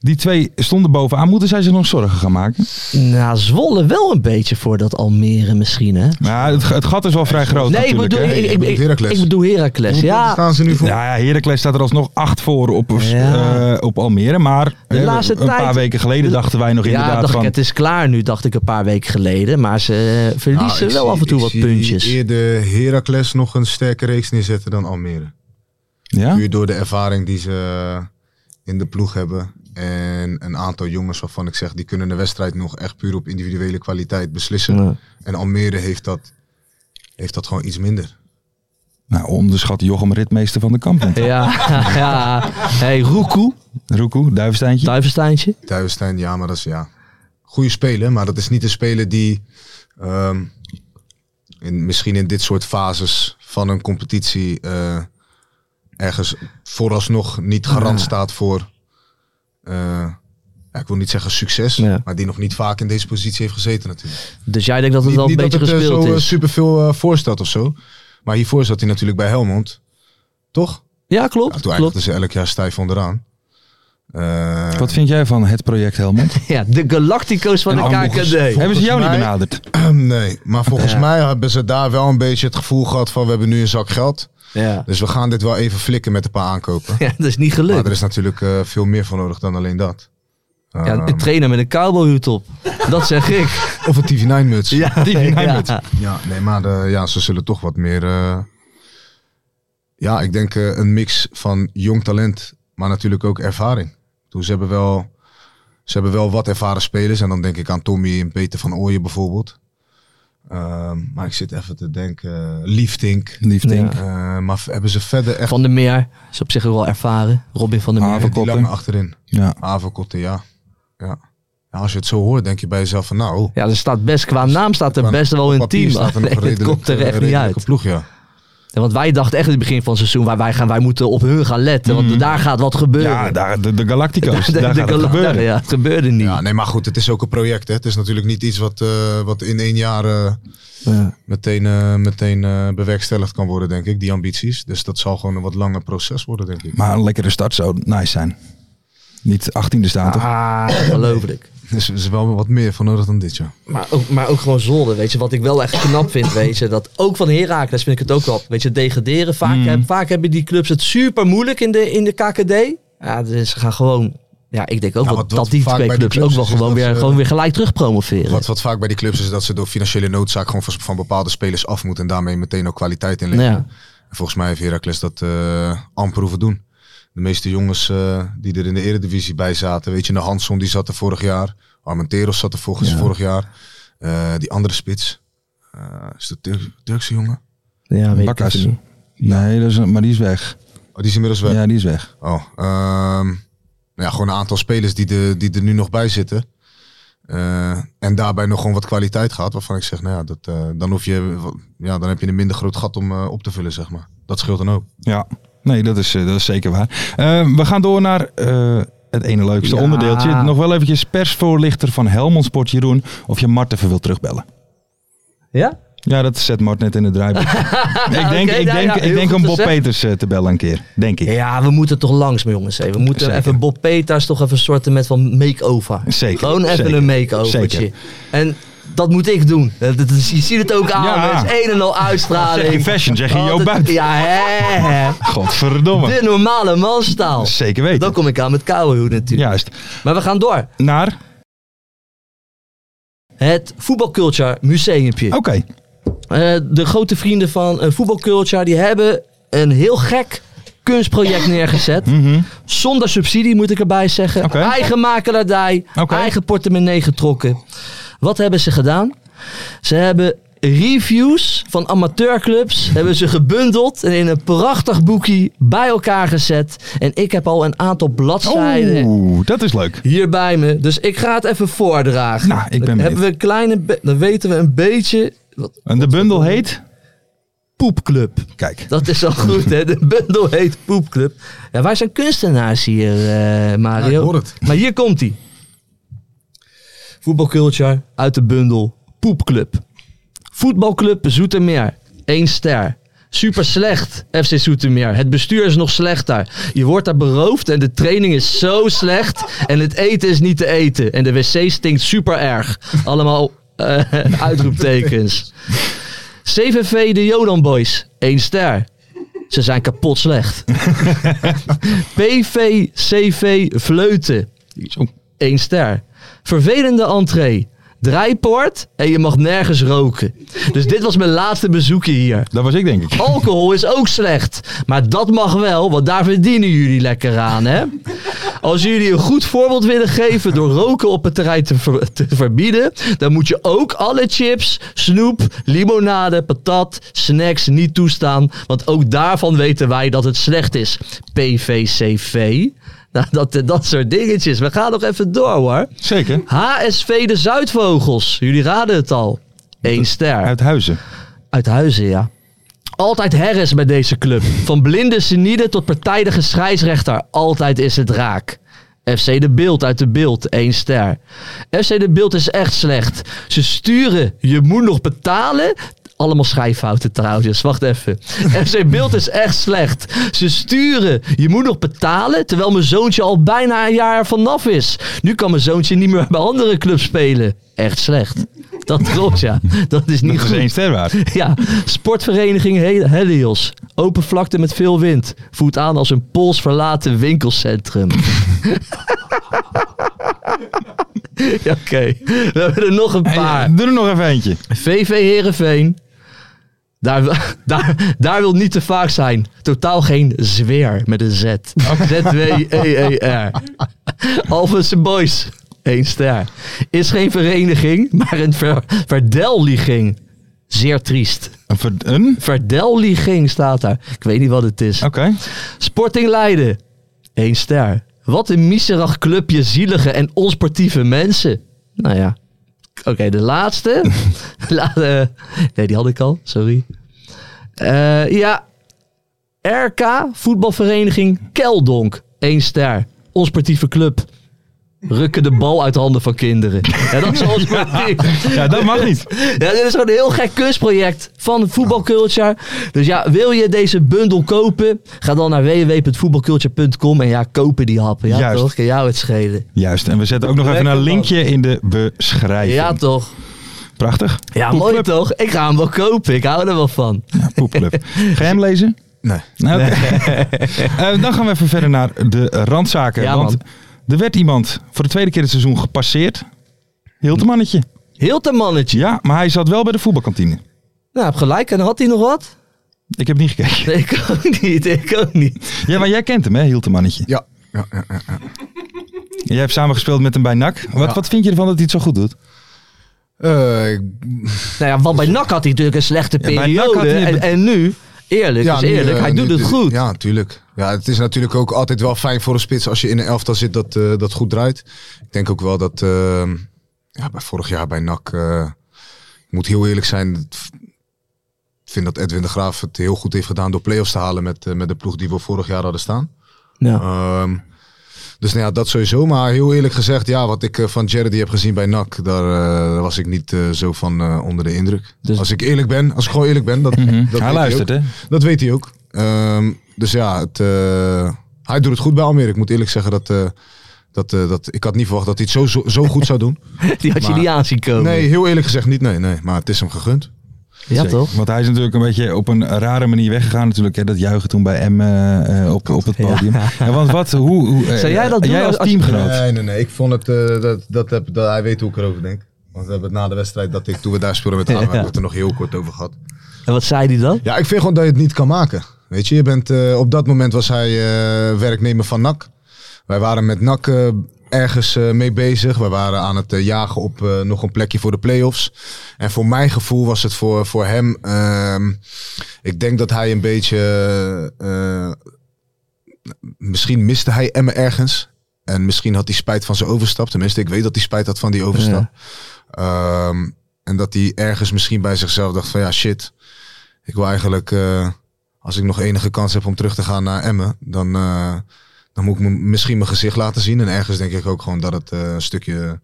Die twee stonden bovenaan. Moeten zij zich nog zorgen gaan maken?
Nou, Zwolle wel een beetje voor dat Almere misschien, hè?
Maar het, het gat is wel vrij groot
Nee, ik
Oh, natuurlijk.
bedoel,
hè?
ik, ik, ik,
bedoelt Heracles.
ik bedoel Heracles.
Hoeveel punten
Ja,
staan ze nu voor?
Nou ja, Heracles staat er alsnog acht voor op,
Ja.
eh, op Almere. Maar
De
eh,
laatste
een paar
tijd-
weken geleden dachten wij nog
ja
inderdaad
dacht
van...
ik, het is klaar nu, dacht ik een paar weken geleden. Maar ze eh,
Nou,
verliezen
ik
wel
zie-
af en toe
ik
wat
zie
puntjes.
eerder Heracles nog een sterke reeks neerzetten dan Almere.
ja?
Puur door de ervaring die ze in de ploeg hebben. En een aantal jongens waarvan ik zeg, die kunnen de wedstrijd nog echt puur op individuele kwaliteit beslissen.
Ja.
En Almere heeft dat, heeft dat gewoon iets minder.
Nou, onderschat Jochem Ritmeester van de Kamp. niet.
Ja, ja. Hey, Roekoe,
Roekoe, Duivensteintje.
Duivensteintje.
Duivenstein, ja, maar dat is ja. Goede speler, maar dat is niet een speler die ehm, in, misschien in dit soort fases van een competitie eh, ergens vooralsnog niet garant staat voor. eh, ja, ik wil niet zeggen succes,
Ja.
maar die nog niet vaak in deze positie heeft gezeten natuurlijk.
Dus jij denkt dat het
Niet,
wel een
niet dat
beetje
het eh,
gespeeld
zo eh,
is?
superveel eh, voorstelt of zo. Maar hiervoor zat hij natuurlijk bij Helmond. Toch?
Ja,
Ja,
klopt.
toen
klopt.
eindigden ze elk jaar stijf onderaan. Eh,
Wat vind jij van het project Helmond?
Ja, de Galactico's van de KKD.
Hebben ze jou niet
mij-
benaderd?
Nee, maar volgens mij hebben ze daar wel een beetje het gevoel gehad van we hebben nu een zak geld.
Ja.
Dus we gaan dit wel even flikken met een paar aankopen.
ja, dat is niet
Maar er
gelukt.
is natuurlijk eh, veel meer voor nodig dan alleen dat.
Ja, de
Ehm,
trainer met een cowboyhoed op. Dat zeg ik.
of een TV9 muts. Ja.
Die
nee, maar eh, ja, ze zullen toch wat meer... eh, ja, ik denk eh, een mix van jong talent, maar natuurlijk ook ervaring. Toen ze hebben wel... Ze hebben wel wat ervaren spelers. En dan denk ik aan Tommy en Peter van Ooyen bijvoorbeeld. Ehm, maar ik zit even te denken. eh, Liefdink.
Liefdink.
Eh, maar v- hebben ze verder echt
Van der Meer is op zich wel ervaren. Robin van der Meer.
Haven-
die
Averkotten.
lang achterin?
Ja.
Averkotten, ja. ja. Ja, Als je het zo hoort, denk je bij jezelf van nou...
Ja, er staat best, qua naam staat er
qua-
best wel
op
een
papier
team.
staat er nog
Alleen,
een
het
redelijk-
komt er echt
een
niet
redelijke
uit.
ploeg, ja.
Ja, want wij dachten echt in het begin van het seizoen, waar wij, gaan, wij moeten op hun gaan letten.
Mhm.
Want daar gaat wat gebeuren.
Ja, daar, de, de Galactico's. daar gaat het
Gala-
gebeuren.
daar- ja, het gebeurde niet.
ja, nee, maar goed, het is ook een project. Hè. Het is natuurlijk niet iets wat, eh, wat in één jaar eh,
Ja.
meteen, eh, meteen eh, bewerkstelligd kan worden, denk ik. Die ambities. Dus dat zal gewoon een wat langer proces worden, denk ik.
Maar een lekkere start zou nice zijn. Niet 18e staan, toch?
Ah, ongelooflijk.
Dus er is wel wat meer voor nodig dan dit, ja.
Maar ook, maar ook gewoon zolder, weet je. Wat ik wel echt knap vind, weet je. Dat ook van Herakles vind ik het ook wel. Weet je, degraderen. Vaak,
Mhm.
heb- vaak hebben die clubs het super moeilijk in de, in de KKD. Ja, dus ze gaan gewoon... Ja, ik denk ook
Ja,
wel
wat- wat
dat die
vaak
twee
bij die
clubs,
clubs
ook wel
is, is
gewoon
dat
weer,
ze-
gewoon weer gelijk terugpromoveren.
Wat, wat vaak bij die clubs is dat ze door financiële noodzaak gewoon van, van bepaalde spelers af moeten. En daarmee meteen ook kwaliteit in
Nou
leveren.
ja.
En Volgens mij heeft Heracles dat eh, amper hoeven doen. De meeste jongens eh, die er in de eredivisie bij zaten. Weet je, de Hanson die zat er vorig jaar. Armenteros zat er volgens vorig jaar. Eh, die andere spits. eh, is dat Turk- Turkse jongen?
Ja, weet ik
Bakkas.
even niet.
Nee, dat is, maar die is weg.
Oh, die is inmiddels weg.
Ja, die is weg.
Oh, ehm, nou ja, gewoon een aantal spelers die, de, die er nu nog bij zitten. Eh, en daarbij nog gewoon wat kwaliteit gehad. Waarvan ik zeg, nou ja, dat, eh, dan, hoef je, ja, dan heb je een minder groot gat om eh, op te vullen, zeg maar. Dat scheelt dan ook.
Ja. Nee, dat is, eh, dat is zeker waar. Eh, we gaan door naar eh, het ene leukste
Ja.
onderdeeltje. Nog wel eventjes persvoorlichter van Helmond Sport Jeroen. Of je Mart even wil terugbellen.
Ja?
Ja, dat zet Mart net in het draaiboek. ik denk,
Oké,
ik
nou
denk,
ja,
ik
heel
denk
goed
om Bob
gezegd.
Peters eh, te bellen een keer. Denk ik.
Ja, we moeten toch langs, maar jongens. hè. We moeten
Zeker.
even Bob Peters toch even sorten met van make-over.
Zeker,
Gewoon even
zeker,
een make-overtje.
zeker.
En dat moet ik doen. Dat, dat is- je ziet het ook aan.
Ja.
Het is een en al
Zeg je
uitstraling.
fashion, zeg je
Oh,
jouw
dat-
buiten.
Ja, hè, hè.
Godverdomme.
De normale manstaal.
Zeker weten.
Dan kom ik aan met koude hoed natuurlijk.
Juist.
Maar we gaan door.
Naar?
Het Voetbalculture Museumpje.
Oké.
Eh, de grote vrienden van eh, Voetbalculture die hebben een heel gek kunstproject neergezet.
Mhm.
Zonder subsidie moet ik erbij zeggen.
Oké.
Eigen makelaardij,
Oké.
eigen portemonnee getrokken. Wat hebben ze gedaan? Ze hebben reviews van amateurclubs hebben ze gebundeld en in een prachtig boekje bij elkaar gezet. En ik heb al een aantal bladzijden
Oeh, dat is leuk.
hier bij me. Dus ik ga het even voordragen.
Nou, ik ben
dan,
benieuwd.
hebben we een kleine be- dan weten we een beetje wat
En de bundel heet?
poepclub.
Kijk.
Dat is al goed, hè? De bundel heet Poepclub. Ja, wij zijn kunstenaars hier, eh, Mario.
Ja, ik hoor het.
Maar hier komt hij. Voetbalculture uit de bundel Poepclub. Voetbalclub Zoetermeer. 1 ster. Super slecht, FC Zoetermeer. Het bestuur is nog slechter. Je wordt daar beroofd en de training is zo slecht. En het eten is niet te eten. En de wc stinkt super erg. Allemaal eh, uitroeptekens. CVV de Jodan Boys. 1 ster. Ze zijn kapot slecht. PVCV Vleuten. 1 ster. Vervelende entree. Draaipoort en je mag nergens roken. Dus dit was mijn laatste bezoekje hier.
Dat was ik, denk ik.
Alcohol is ook slecht. Maar dat mag wel, want daar verdienen jullie lekker aan, hè? Als jullie een goed voorbeeld willen geven door roken op het terrein te, ver- te verbieden, dan moet je ook alle chips, snoep, limonade, patat, snacks niet toestaan. Want ook daarvan weten wij dat het slecht is. PVCV. Nou, dat, dat soort dingetjes. We gaan nog even door hoor.
Zeker.
HSV de Zuidvogels. Jullie raden het al. Eén ster.
Uit Huizen.
Uit Huizen, ja. Altijd herres bij deze club. Van blinde senide tot partijdige scheidsrechter. Altijd is het raak. FC De Beeld uit De Beeld, één ster. FC De Beeld is echt slecht. Ze sturen, je moet nog betalen. Allemaal schrijffouten trouwens, dus wacht even. FC Beeld is echt slecht. Ze sturen, je moet nog betalen. Terwijl mijn zoontje al bijna een jaar vanaf is. Nu kan mijn zoontje niet meer bij andere clubs spelen. Echt slecht. Dat klopt, ja. Dat is niet
Dat is
goed.
één ster waard.
Ja, sportvereniging Hel- Helios. Open vlakte met veel wind. Voelt aan als een pols verlaten winkelcentrum. ja, oké. We hebben er nog een paar.
Hey, eh, doe er nog even eentje.
VV Herenveen. Daar, wi- daar, daar wil niet te vaak zijn. Totaal geen zweer met een Z. E Z-W-E-E-R. Alphense Boys. één ster. Is geen vereniging, maar een ver, verdelliging. Zeer triest.
Een verd- Een?
Verdelliging staat daar. Ik weet niet wat het is.
Oké.
Sporting Leiden. 1 ster. Wat een miserach clubje zielige en onsportieve mensen. Nou ja. Oké, de laatste. La- eh, nee, die had ik al. Sorry. Eh, ja. RK, voetbalvereniging Keldonk. 1 ster. Onsportieve club. Rukken de bal uit de handen van kinderen. Ja, dat is onsportief.
Ja, dat mag niet.
Ja, dit is gewoon een heel gek kunstproject van Voetbalculture. Dus ja, wil je deze bundel kopen? Ga dan naar www.voetbalculture.com en ja, kopen die happen. Ja
Juist.
toch? Kan jou het schelen.
Juist. En we zetten ook nog even een linkje in de beschrijving.
Ja toch?
Prachtig.
Ja,
Poepclub.
mooi toch? Ik ga hem wel kopen. Ik hou er wel van.
Ja, poepclub. Ga jij hem lezen?
Nee.
Nou, oké. Eh, dan gaan we even verder naar de randzaken.
Ja,
want
man.
er werd iemand voor de tweede keer dit seizoen gepasseerd. Hiltemannetje.
Heel te mannetje.
Ja, maar hij zat wel bij de voetbalkantine.
Nou, heb gelijk. En had hij nog wat?
Ik heb niet gekeken.
Nee, ik ook niet. Ik ook niet.
Ja, maar jij kent hem, hè, Hiltemannetje.
Ja. ja, ja, ja.
Jij hebt samengespeeld met hem bij NAC. Wat,
Ja.
wat vind je ervan dat hij het zo goed
Mhm.
doet?
Eh, ik-
Nou ja, want bij NAC had hij natuurlijk een slechte
Ja, bij NAC
periode.
had hij-
en, en nu, eerlijk
ja,
is
nu,
eerlijk,
eh,
hij
nu
doet het
doe-
goed.
Ja, natuurlijk. Ja, het is natuurlijk ook altijd wel fijn voor een spits als je in een elftal zit dat, eh, dat goed draait. Ik denk ook wel dat eh, ja, bij vorig jaar bij NAC, eh, ik moet heel eerlijk zijn, het v- ik vind dat Edwin de Graaf het heel goed heeft gedaan door play-offs te halen met, eh, met de ploeg die we vorig jaar hadden staan.
Nou,
Ehm, dus nou ja, dat sowieso. Maar heel eerlijk gezegd, ja, wat ik eh, van Jerry heb gezien bij NAC, daar eh, was ik niet eh, zo van eh, onder de indruk.
Dus- Mhm.
Als ik eerlijk ben, als ik gewoon eerlijk ben, dat, dat weet
hij
hij
luistert,
ook.
hè?
Dat weet hij ook. Ehm, dus ja, het, eh, hij doet het goed bij Almere. Ik moet eerlijk zeggen dat eh, Dat, eh, dat, ik had niet verwacht dat hij het zo, zo, zo goed zou doen.
Die had je
Maar-
niet aan zien komen.
Oh, Nee, heel eerlijk gezegd niet. Nee, nee. Maar het is hem gegund.
ja,
Zeker.
toch?
Want hij is natuurlijk een beetje op een rare manier weggegaan natuurlijk. Hè? Dat juichen toen bij M eh, eh, op, op het podium. Ja, want wat, hoe... hoe eh,
Zou jij dat doen
als,
als- als-
teamgenoot?
Nee, nee, nee. Ik vond het, eh, dat, dat, heb, dat, hij weet hoe ik erover denk. Want we hebben het na de wedstrijd, dat ik, toen we daar speelden met Ajax,
Ja.
hebben we het er nog heel kort over gehad.
En wat zei hij dan?
Ja, ik vind gewoon dat je het niet kan maken. Weet je, je bent, eh, op dat moment was hij eh, werknemer van NAC. Wij waren met NAC eh, ergens eh, mee bezig. Wij waren aan het eh, jagen op eh, nog een plekje voor de play-offs. En voor mijn gevoel was het voor, voor hem... ehm, ik denk dat hij een beetje... eh, eh, misschien miste hij Emmen ergens. En misschien had hij spijt van zijn overstap. Tenminste, ik weet dat hij spijt had van die overstap. Ehm, en dat hij ergens misschien bij zichzelf dacht van... Ja, shit... Ik wil eigenlijk, eh, als ik nog enige kans heb om terug te gaan naar Emmen, dan, eh, dan moet ik me misschien mijn gezicht laten zien. En ergens denk ik ook gewoon dat het eh, een stukje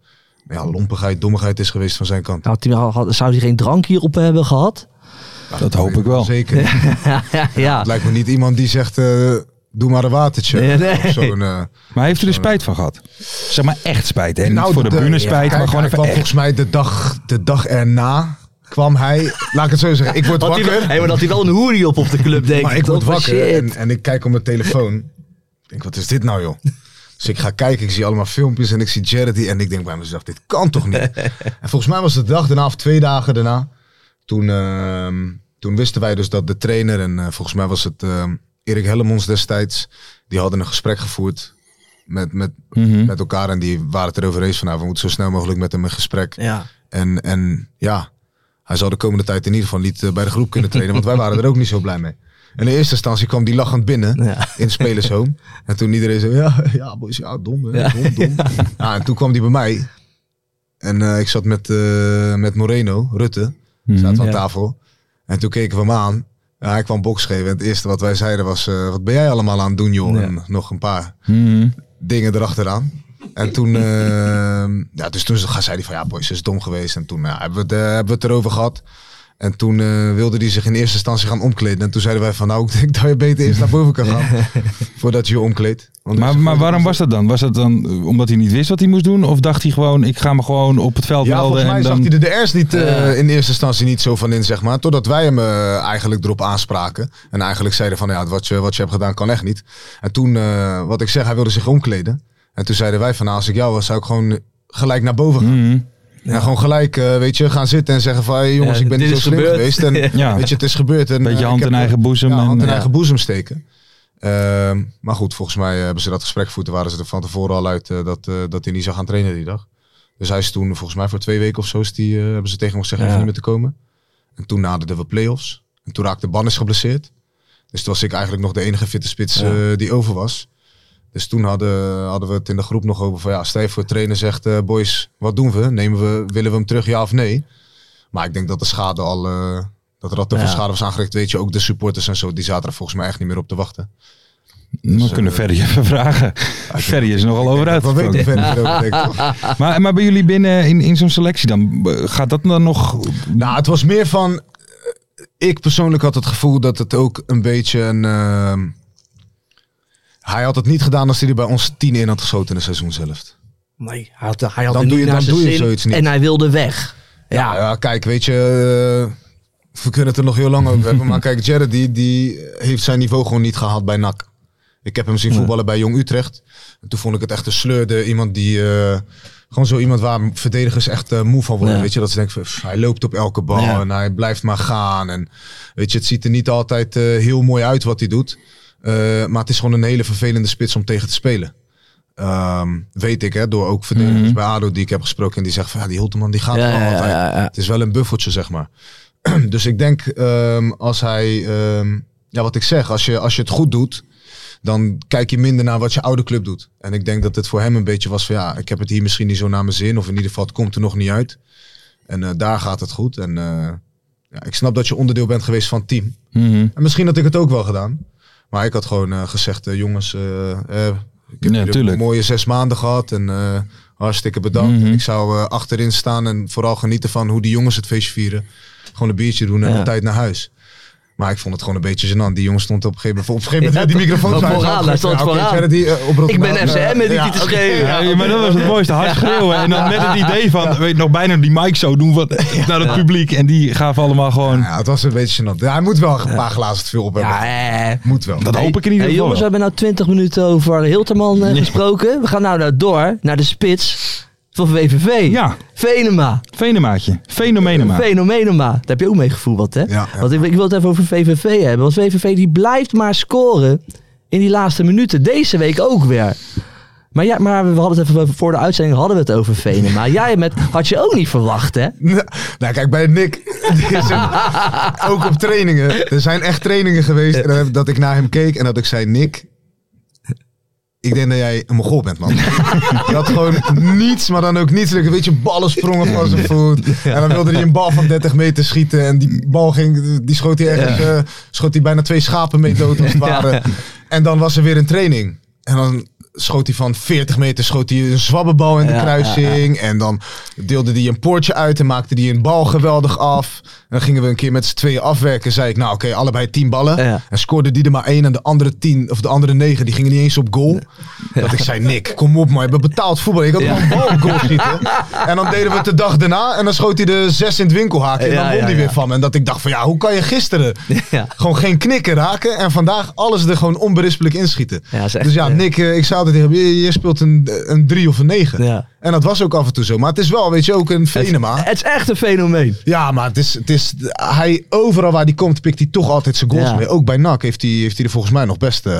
ja, lompigheid, dommigheid is geweest van zijn kant.
Nou, Tim, had- zou hij geen drank hierop hebben gehad?
dat hoop ik wel.
Zeker.
ja, ja.
Het lijkt me niet iemand die zegt, eh, doe maar een watertje.
Nee, nee.
Of zo'n, eh,
Maar heeft u er spijt van gehad? Zeg maar echt spijt. Hè? Niet
Nou,
voor de, bühne spijt,
kijk,
maar gewoon
hij
even
kwam
echt.
volgens mij de dag, de dag erna kwam hij, laat ik het zo zeggen, ik word
Had hij, wel-
wakker.
hey, maar dat hij wel een hoerie op op de club denkt.
Maar ik word wakker
Shit.
en, en ik kijk op mijn telefoon. Ik denk, wat is dit nou joh? Dus ik ga kijken, ik zie allemaal filmpjes en ik zie Charity. En ik denk bij mezelf, dit kan toch niet? en volgens mij was het de dag daarna of twee dagen daarna. Toen, ehm, toen wisten wij dus dat de trainer en eh, volgens mij was het ehm, Erik Hellemons destijds. Die hadden een gesprek gevoerd met, met,
Mhm.
met elkaar. En die waren het erover eens van, nou, we moeten zo snel mogelijk met hem in gesprek.
Ja.
En, en ja, hij zal de komende tijd in ieder geval niet eh, bij de groep kunnen trainen. want wij waren er ook niet zo blij mee. En in eerste instantie kwam die lachend binnen
Ja.
in het spelershome. En toen iedereen zei, ja, ja boys, ja, dom, hè, dom, dom. Ja, en toen kwam die bij mij. En eh, ik zat met, eh, met Moreno, Rutte,
Mhm,
zaten we aan
Ja.
tafel. En toen keken we hem aan. Ja, hij kwam boks geven. En het eerste wat wij zeiden was, eh, wat ben jij allemaal aan het doen, joh?
Ja.
En nog een paar
Mhm.
dingen erachteraan. En toen, ehm, ja, dus toen zei hij van ja, boys, dat is dom geweest. En toen ja, hebben, we het, eh, hebben we het erover gehad. En toen eh, wilde hij zich in eerste instantie gaan omkleden. En toen zeiden wij van nou, ik denk dat je beter eerst naar boven kan gaan. voordat je je omkleedt. Want
Maar, maar waarom was dat dan? Was dat dan eh, omdat hij niet wist wat hij moest doen? Of dacht hij gewoon, ik ga me gewoon op het veld
Ja,
melden?
volgens mij
en
zag
dan...
hij de DR's niet, eh, in eerste instantie niet zo van in, zeg maar. Totdat wij hem eh, eigenlijk erop aanspraken. En eigenlijk zeiden van, ja, wat je, wat je hebt gedaan kan echt niet. En toen, eh, wat ik zeg, hij wilde zich omkleden. En toen zeiden wij van, nou, als ik jou was, zou ik gewoon gelijk naar boven gaan.
Mhm.
En gewoon gelijk, eh, weet je, gaan zitten en zeggen van, hey, jongens,
Ja,
ik ben
dit
niet zo
is
slim
gebeurd.
geweest. En,
Ja.
Weet je, het is gebeurd. En,
Beetje
eh,
hand
ik
in
heb-
eigen boezem.
Ja,
en,
hand in
eh,
eigen boezem steken. Ehm, maar goed, volgens mij hebben ze dat gesprek gevoerd. Toen waren ze er van tevoren al uit eh, dat, eh, dat hij niet zou gaan trainen die dag. Dus hij is toen, volgens mij voor twee weken of zo, is die, eh, hebben ze tegen hem gezegd
Ja.
even niet meer te komen. En toen naderden we play-offs. En toen raakte Bannis geblesseerd. Dus toen was ik eigenlijk nog de enige fitte spits eh, die over was. Dus toen hadden, hadden we het in de groep nog over van ja, stel je voor trainer zegt eh, boys, wat doen we? Nemen we, willen we hem terug, ja of nee? Maar ik denk dat de schade al, eh, dat er al te veel
Ja.
schade was aangericht. Weet je, ook de supporters en zo, die zaten er volgens mij echt niet meer op te wachten.
We
Dus, eh,
kunnen Ferry even vragen. Ferry is er nogal over
Wat weet
uitgesproken.
ik verder erover, denk ik toch?
Maar, maar bij jullie binnen in, in zo'n selectie dan, eh, gaat dat dan nog...
Nou, het was meer van. eh, Ik persoonlijk had het gevoel dat het ook een beetje een. ehm, hij had het niet gedaan als hij er bij ons 10 in had geschoten in de seizoenshelft.
Nee, hij had, hij had
Dan
het
doe
niet
je-
naar
dan
zijn
doe je
zin
zoiets niet.
En hij wilde weg. Ja,
Nou ja, kijk, weet je. eh, we kunnen het er nog heel lang over hebben. Maar kijk, Jared die, die heeft zijn niveau gewoon niet gehaald bij NAC. Ik heb hem zien voetballen bij Jong Utrecht. En toen vond ik het echt een sleurde. Iemand die. eh, gewoon zo iemand waar verdedigers echt eh, moe van worden.
Ja.
Weet je, dat ze denken van, "Pff, hij loopt op elke bal
Ja.
en hij blijft maar gaan. En weet je, het ziet er niet altijd eh, heel mooi uit wat hij doet. Eh, maar het is gewoon een hele vervelende spits om tegen te spelen. Ehm, weet ik, hè, door ook verdedigers bij ADO die ik heb gesproken. En die zeggen van, ja, die Hulteman die gaat
Mhm. Ja,
er wel
ja,
altijd.
ja, ja.
Het is wel een buffeltje, zeg maar. dus ik denk, ehm, als hij... ehm, ja, wat ik zeg, als je, als je het goed doet dan kijk je minder naar wat je oude club doet. En ik denk dat het voor hem een beetje was van ja, ik heb het hier misschien niet zo naar mijn zin. Of in ieder geval, het komt er nog niet uit. En eh, daar gaat het goed. En eh, ja, ik snap dat je onderdeel bent geweest van het team.
Mhm.
En misschien had ik het ook wel gedaan. Maar ik had gewoon eh, gezegd, eh, jongens, eh, eh, ik
Ja,
heb jullie
tuurlijk.
een mooie zes maanden gehad. En eh, hartstikke bedankt.
Mhm.
En ik zou eh, achterin staan en vooral genieten van hoe die jongens het feestje vieren. Gewoon een biertje doen en
Ja.
op tijd naar huis. Maar ik vond het gewoon een beetje gênant. Die jongen stond op een gegeven moment... Op een gegeven moment
Ja,
werd die
toch?
microfoon
Wel
uit.
vooraan, hij stond vooraan.
eh,
Ik ben FCM met die te schreeuwen.
Ja, maar dat was het mooiste. Hard schreeuwen. En dan met het idee van, weet je, nog bijna die mic zo doen wat, naar het publiek. En die gaven allemaal gewoon...
Ja, het was een beetje gênant. Ja, hij moet wel een paar glazen te veel op hebben.
Ja, eh.
Moet wel.
Dat hoop ik in ieder
Hey,
geval
jongens, we
wel.
hebben nou 20 minuten over Hilterman eh, gesproken. We gaan nou naar- door naar de spits van VVV.
Ja.
Venema.
Venemaatje. Fenomenema.
Fenomenema. Daar heb je ook mee gevoeld, hè?
Ja, ja.
Want ik, ik wil het even over VVV hebben. Want VVV die blijft maar scoren in die laatste minuten. Deze week ook weer. Maar, ja, maar we hadden het even over- voor de uitzending hadden we het over Venema. Jij met, had je ook niet verwacht, hè?
Nou, nou, kijk, bij Nick, die is een- ook op trainingen. Er zijn echt trainingen geweest en dan heb- dat ik naar hem keek en dat ik zei, Nick, ik denk dat jij een mogol bent, man. Je had gewoon niets, maar dan ook niets. Een beetje ballen sprongen van zijn voet. En dan wilde hij een bal van 30 meter schieten. En die bal ging, die schoot hij ergens, eh, schoot hij bijna twee schapen mee dood als het ware. En dan was er weer een training. En dan schoot hij van 40 meter schoot hij een zwabbenbal in de
Ja,
kruising. En dan deelde hij een poortje uit en maakte hij een bal geweldig af. En dan gingen we een keer met z'n tweeën afwerken. Zei ik, nou oké, allebei 10 ballen.
Ja.
En scoorde die er maar één en de andere tien, of de andere negen, die gingen niet eens op goal. Dat ik zei, Nick, kom op man, je bent betaald voetbal. Ik had nog een bal op goal schieten. En dan deden we het de dag daarna en dan schoot hij de zes in het winkelhaken. En
Ja,
dan won
ja,
hij
ja.
weer van me. En dat ik dacht van, ja, hoe kan je gisteren
Ja.
gewoon geen knikken raken en vandaag alles er gewoon onberispelijk inschieten.
Ja, dat is echt,
dus ja,
eh,
Nick, eh, ik zou altijd tegen hem, je, je speelt een, een drie of een negen.
Ja.
En dat was ook af en toe zo. Maar het is wel, weet je, ook een venema.
Het is echt een fenomeen.
Ja, maar het is, het is, hij, overal waar hij komt, pikt hij toch altijd zijn goals
Ja.
mee. Ook bij NAC heeft hij, heeft hij er volgens mij nog best eh,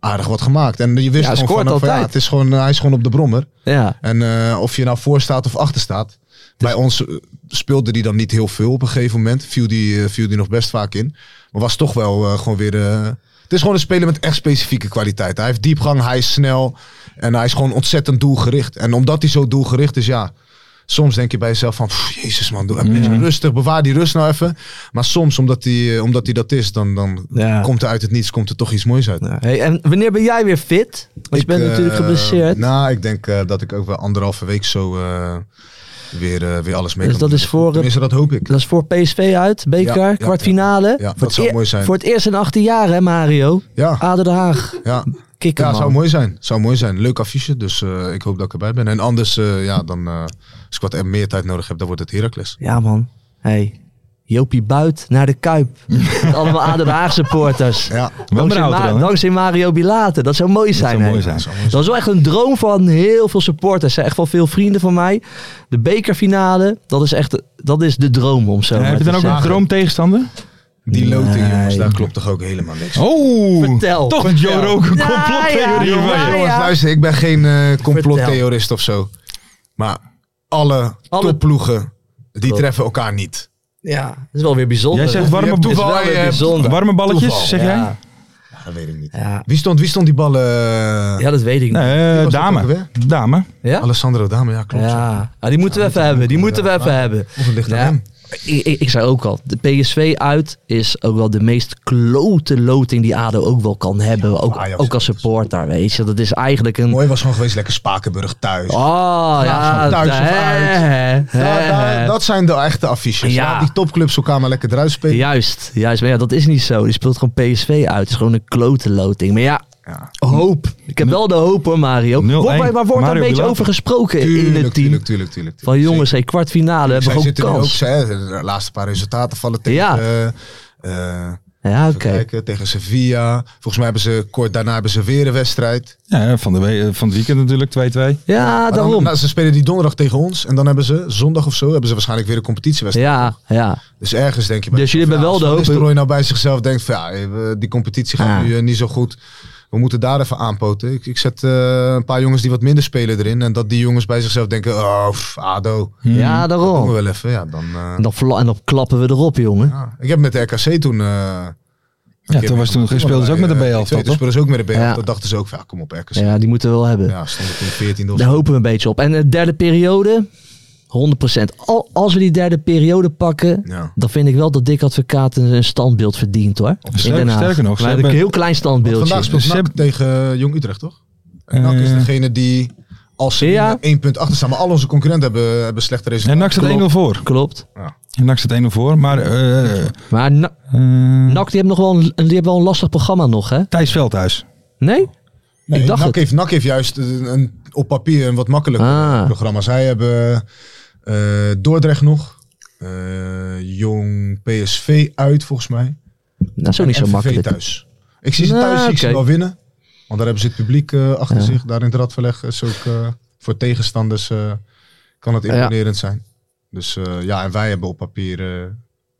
aardig wat gemaakt. En je wist
Ja,
gewoon
hij scoort
vanaf van, ja,
altijd.
het is gewoon, hij is gewoon op de brommer.
Ja.
En eh, of je nou voor staat of achter staat. Bij ons eh, speelde hij dan niet heel veel op een gegeven moment. Viel die, eh, viel die nog best vaak in. Maar was toch wel eh, gewoon weer... eh, het is gewoon een speler met echt specifieke kwaliteit. Hij heeft diepgang, hij is snel. En hij is gewoon ontzettend doelgericht. En omdat hij zo doelgericht is, ja... Soms denk je bij jezelf van, "Pff, jezus man, doe even rustig, bewaar die rust nou even. Maar soms, omdat hij eh, omdat hij dat is, dan, dan
Ja.
komt er uit het niets komt er toch iets moois uit.
Hey, en wanneer ben jij weer fit? Want je bent
eh,
natuurlijk geblesseerd.
Nou, ik denk eh, dat ik ook wel anderhalve week zo eh, weer, eh, weer alles mee
Dus
kan
dat is
doen.
voor het-
Tenminste, dat hoop ik.
Dat is voor PSV uit, beker,
Ja, ja,
kwartfinale.
ja.
voor
Dat
het
zou
eer-
mooi zijn.
Voor het eerst in 18 jaar, hè Mario?
Ja,
Ader Den Haag,
ja.
kikker
ja
man.
zou mooi zijn. Zou mooi zijn. Leuk affiche, dus eh, ik hoop dat ik erbij ben. En anders, eh, ja, dan, eh, als ik wat meer tijd nodig heb, dan wordt het Heracles.
Ja man, hey. Jopie Buit naar de Kuip. Met allemaal Ader Den Haag supporters.
Ja,
Wel
Dankzij,
benauwd
Ma-
dan, hè?
dankzij Mario Bilate. Dat zou mooi zijn.
zou
hè?
mooi zijn.
dat zou mooi
Dat
zijn.
was wel echt een droom van heel veel supporters. hè. Echt wel veel vrienden van mij. De bekerfinale, dat is echt dat is de droom om zo
Ja,
maar
heb je
te
dan ook een
zeggen.
droomtegenstander?
Die loting,
Nee.
jongens, daar klopt toch ook helemaal niks.
Oh!
Vertel.
Toch een Joe
Vertel.
Roken
Ja,
complottheorie
ja,
van
ja.
je.
Jongens, luister, ik ben geen eh, complottheorist of zo. Maar alle,
Alle-
topploegen, die
Klopt.
treffen elkaar niet.
Ja, dat is wel weer bijzonder.
Jij zegt
Je
warme,
hebt toeval
wel
en je
weer
hebt-
bijzonder.
warme balletjes,
Toeval.
eh, zeg jij?
Ja.
Dat weet ik niet.
Ja.
Wie stond, wie stond die ballen? eh,
ja, dat weet ik niet.
Nee, eh,
was dat ook
dame.
alweer?
Dame.
Ja?
Alessandro Dame, ja, klopt.
Ja, Ah, die moeten we even hebben. Die moeten we even hebben.
Of het ligt aan
Ja,
hem.
Ik, ik, ik zei ook al, de PSV uit is ook wel de meest klote loting die ADO ook wel kan hebben. ook,
Ajax
ook als supporter, weet je. Dat is eigenlijk een...
Mooi was gewoon geweest, lekker Spakenburg thuis.
Oh, ja.
van thuis of
hè,
nou, uit.
hè,
Ja,
hè.
daar- dat zijn de echte affiches.
Ja.
Laat die topclubs elkaar maar lekker eruit spelen.
Juist, juist. Maar ja, dat is niet zo. Die speelt gewoon PSV uit. Het is gewoon een klote loting. Maar ja,
Ja.
hoop. Ik heb wel de hoop hoor, Mario.
0-1.
Wordt, maar- maar wordt daar een
Mario
beetje
Bilate.
over gesproken in
Tuurlijk,
het team?
tuurlijk, tuurlijk, tuurlijk.
Van jongens, hey, kwartfinale, we
Zij
hebben gewoon
zitten nu ook,
kans.
zij, de laatste paar resultaten vallen tegen...
Ja.
eh, eh,
Ja, oké.
even kijken, tegen Sevilla. Volgens mij hebben ze kort daarna hebben ze weer een wedstrijd.
Ja, van, de we- eh, van het weekend natuurlijk, 2-2.
Ja,
Maar dan-
Ah, daarom.
nou, ze spelen die donderdag tegen ons. En dan hebben ze zondag of zo hebben ze waarschijnlijk weer een competitiewedstrijd.
Ja, ja.
Dus ergens denk je... bij
Dus jullie
jezelf,
hebben wel
ja,
de
als
hoop.
Van Nistelrooy nou bij zichzelf denkt van ja, eh, die competitie gaat
Ja.
nu eh, niet zo goed. We moeten daar even aanpoten. Ik, ik zet eh, een paar jongens die wat minder spelen erin. En dat die jongens bij zichzelf denken, oh, pff, ADO.
Ja,
Doen Hmm. we
daarom.
wel even. Ja, dan, eh,
En dan, verla- en dan klappen we erop, jongen.
ja. Ik heb met de RKC toen... eh, een
Ja,
keer
toen was toen
meegemaakt.
speelden ze ook met de
Eh,
B-helft,
Toen
toch?
speelden ze ook met de B-helft.
Ja.
Dat dachten ze ook, van, ja, kom op RKC. Ja,
Ja, die moeten we wel hebben.
stonden toen 14 of
Daar hopen we een beetje op. En de derde periode, 100%. Al, als we die derde periode pakken,
Ja.
dan vind ik wel dat Dick Advocaat een, een standbeeld verdient hoor. In Den Haag.
sterker nog, ze
Maar
hebben-
een heel klein
Vandaag
standbeeldje.
speelt
Ze
NAC
hebben-
tegen eh, Jong Utrecht, toch? En NAC is
Eh.
degene die, als ze
Dus- Ja.
één punt achter staan, maar al onze concurrenten hebben, hebben slechte
En
resultaten.
NAC staat 1-0
Klopt.
voor.
Klopt.
Ja.
NAC zit 1-0 voor. Maar eh,
Maar Na-
Hm.
eh,
NAC, die hebben nog wel een, die hebben wel een lastig programma nog, hè?
Thijs Veldhuis.
Nee?
Nee,
ik dacht
NAC,
het.
Heeft, NAC heeft juist een, een- op papier een wat makkelijker
Ah.
programma. Zij hebben eh, Dordrecht nog. eh, Jong PSV uit, volgens mij.
Dat is
En
ook niet zo
MVV
makkelijk.
thuis. Ik zie ze thuis
Nou,
zie ik ze
oké.
wel winnen. Want daar hebben ze het publiek eh, achter
Ja.
zich. Daar in het radverleg is ook eh, voor tegenstanders eh, kan het
Ja.
imponerend zijn. Dus eh, ja, en wij hebben op papier eh,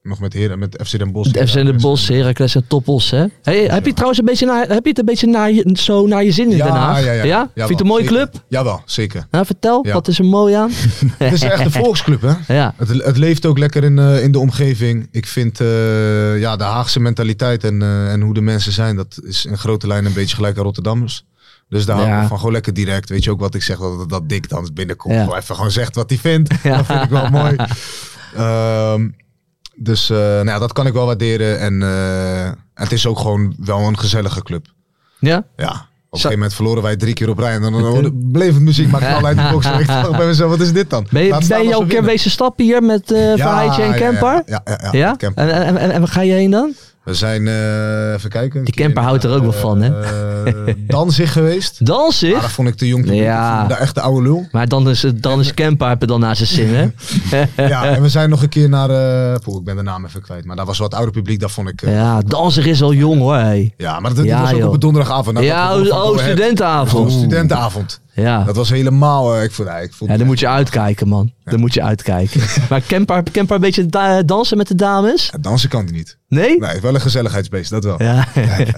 nog met heren, met FC Den Bosch.
De FC Den Bosch, Heracles en Toppos, hè? Hey, heb je trouwens een beetje naar, heb je het een beetje naar je, zo naar je zin in
Ja,
Den Haag?
ja, ja.
Vind je het een
Jawel,
mooie
zeker.
club?
Jawel, zeker.
Nou, vertel,
Ja.
wat is er mooi aan?
Het is echt een volksclub, hè?
Ja,
Het, het leeft ook lekker in, eh, in de omgeving. Ik vind eh, ja, de Haagse mentaliteit en, eh, en hoe de mensen zijn, dat is in grote lijnen een beetje gelijk aan Rotterdammers. Dus daar hou ik
Ja.
van gewoon lekker direct. Weet je ook wat ik zeg, dat, dat Dick dan binnenkomt.
Ja.
Gewoon even gewoon zegt wat hij vindt. Dat vind ik wel mooi. Ehm, dus eh, nou ja, dat kan ik wel waarderen. En eh, het is ook gewoon wel een gezellige club.
ja.
Ja. Op een
Zo-
gegeven moment verloren wij drie keer op rij. En dan, dan- dan bleef het muziek, maar ik knalde uit de box. En ik dacht bij mezelf, wat is dit dan?
Ben je,
Laat staan
ben je
als
ook
we
een keer
winnen.
wezen stappen hier met eh Verhaaitje en Kemper?
Ja, ja, ja,
Ja?
met Kemper.
En, en, en, en waar ga je heen dan?
We zijn, eh, even kijken. Eh,
Die Kemper houdt er ook wel van, hè?
Dan zich geweest. Maar dat
Danzig?
vond ik te jong. te doen.
Ja.
Ik vond hem de echte oude lul.
Maar dan is, het- dan is Kemper heb je dan naast zijn zin, hè?
Ja, en we zijn nog een keer naar... eh, poeh, ik ben de naam even kwijt. Maar daar was wat ouder publiek. Dat vond ik... eh, ja.
Ja, Danzig is wel jong, hoor. hé.
maar dat dit
Ja,
was ook
joh.
op een donderdagavond. Nou,
ja,
dat we
oh,
van
oh,
Go Ahead-
studentenavond.
Een studentenavond.
Ja.
Dat was helemaal... eh, ik vond, nee, ik vond
Ja, dan moet je uitkijken, man. Dan moet je uitkijken. Maar Kemper, Kemper een beetje da- dansen met de dames?
Ja, dansen kan hij niet.
Nee?
Nee, wel een gezelligheidsbeest. Dat wel.
Ja.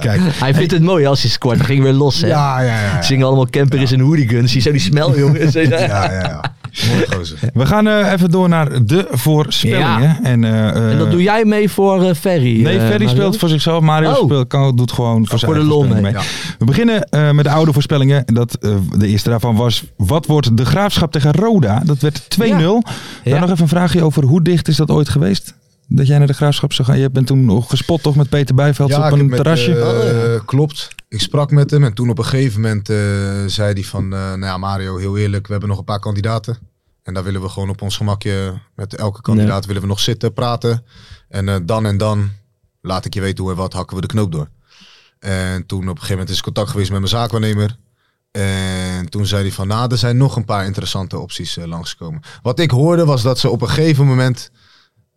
Kijk,
Hij vindt het mooi als hij scoort. Dan ging weer los, hè?
ja, ja. ja, ja.
Zingen allemaal Kemper is een hooligan. Zie je zo die smel, jongens?
Ja, ja, ja. Mooi gozer.
we gaan eh, even door naar de voorspellingen. En, eh,
En dat doe jij mee voor eh, Ferry.
Nee,
eh,
Ferry
Mario?
speelt voor zichzelf. Mario
Oh.
speelt, kan, doet gewoon voor, zijn
de
eigen
lol
voorspellingen We beginnen eh, met de oude voorspellingen. Dat, eh, de eerste daarvan was, wat wordt de graafschap tegen Roda? Dat werd 2-0. Dan
Ja.
nog even een vraagje over hoe dicht is dat ooit geweest? Dat jij naar de graafschap zou gaan. Je bent toen nog gespot toch met Peter Bijveld
ik
op
heb
een
met,
terrasje.
Oh,
eh, klopt. Ik sprak met hem en toen op een gegeven moment eh, zei hij van, eh, nou ja Mario, heel eerlijk, we hebben nog een paar kandidaten. En daar willen we gewoon op ons gemakje, met elke kandidaat willen we nog zitten, praten. En eh, dan en dan laat ik je weten hoe en wat, hakken we de knoop door. En toen op een gegeven moment is contact geweest met mijn zaakwaarnemer. En toen zei hij van, nou, er zijn nog een paar interessante opties eh, langskomen. Wat ik hoorde was dat ze op een gegeven moment,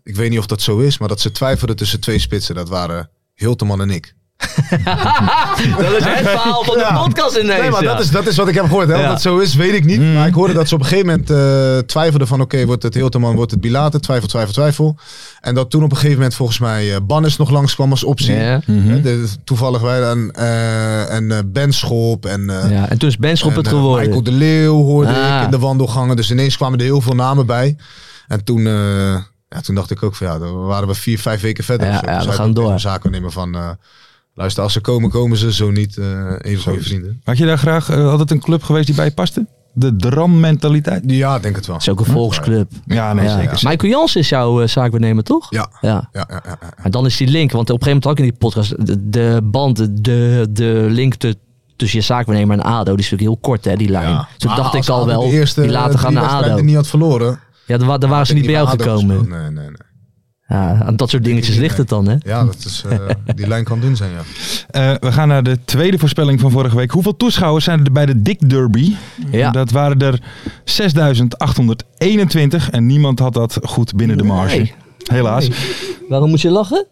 ik weet niet of dat zo is, maar dat ze twijfelden tussen twee spitsen. Dat waren Hilteman en ik.
Dat is het verhaal van de podcast ineens.
Nee, maar
ja.
dat, is, dat is wat ik heb gehoord. Hè? Of
Ja. Mm.
dat zo is, weet ik niet. Maar ik hoorde dat ze op een gegeven moment eh, twijfelden van... oké, wordt het Hilterman, wordt het Bilater? Twijfel, twijfel, twijfel. En dat toen op een gegeven moment volgens mij eh Bannes nog langskwam als optie.
Ja. Mhm.
Hè, de- toevallig wij dan. eh, en eh Ben Schop en... eh,
Ja, en toen is Benschop het
en, eh,
geworden.
Michael de Leeuw hoorde
Ah.
ik in de wandelgangen. Dus ineens kwamen er heel veel namen bij. En toen, eh, ja, toen dacht ik ook van ja, dan waren we vier, vijf weken verder.
Ja,
of zo.
ja,
Dus
we
hij
gaan
kon
door.
tegen mijn zaken nemen van... eh, luister, als ze komen, komen ze. Zo niet, eh even van je vrienden.
Had je daar graag, eh, had het een club geweest die bij je paste? De drammentaliteit?
Ja, ik denk het wel.
is ook een volksclub.
Ja, nee,
Ja.
zeker.
Michael Jans is jouw eh, zaakbenemer, toch?
Ja.
ja.
Ja, ja, ja, ja.
Maar dan is die link, want op een gegeven moment had ik in die podcast de, de band, de, de link te- tussen je zaakwaarnemer en ADO, die is natuurlijk heel kort hè, die lijn.
Ja.
Toen
Maar
dacht
als
ik al
ADO
wel,
de eerste eh,
die laten gaan
drie
naar
wedstrijden
ADO.
niet had verloren.
Ja, daar, wa- daar waren ze
had
niet bij jou
ik ADO gespeeld.
gekomen.
Nee, nee, nee.
Ja, aan dat soort dingetjes
niet,
ligt
nee.
het dan hè.
Ja, dat is, eh, die lijn kan dun zijn, ja.
Eh, we gaan naar de tweede voorspelling van vorige week. Hoeveel toeschouwers zijn er bij de Dick Derby?
Ja.
Dat waren er 6.821 en niemand had dat goed binnen de marge.
Nee.
Helaas.
Waarom moet je lachen?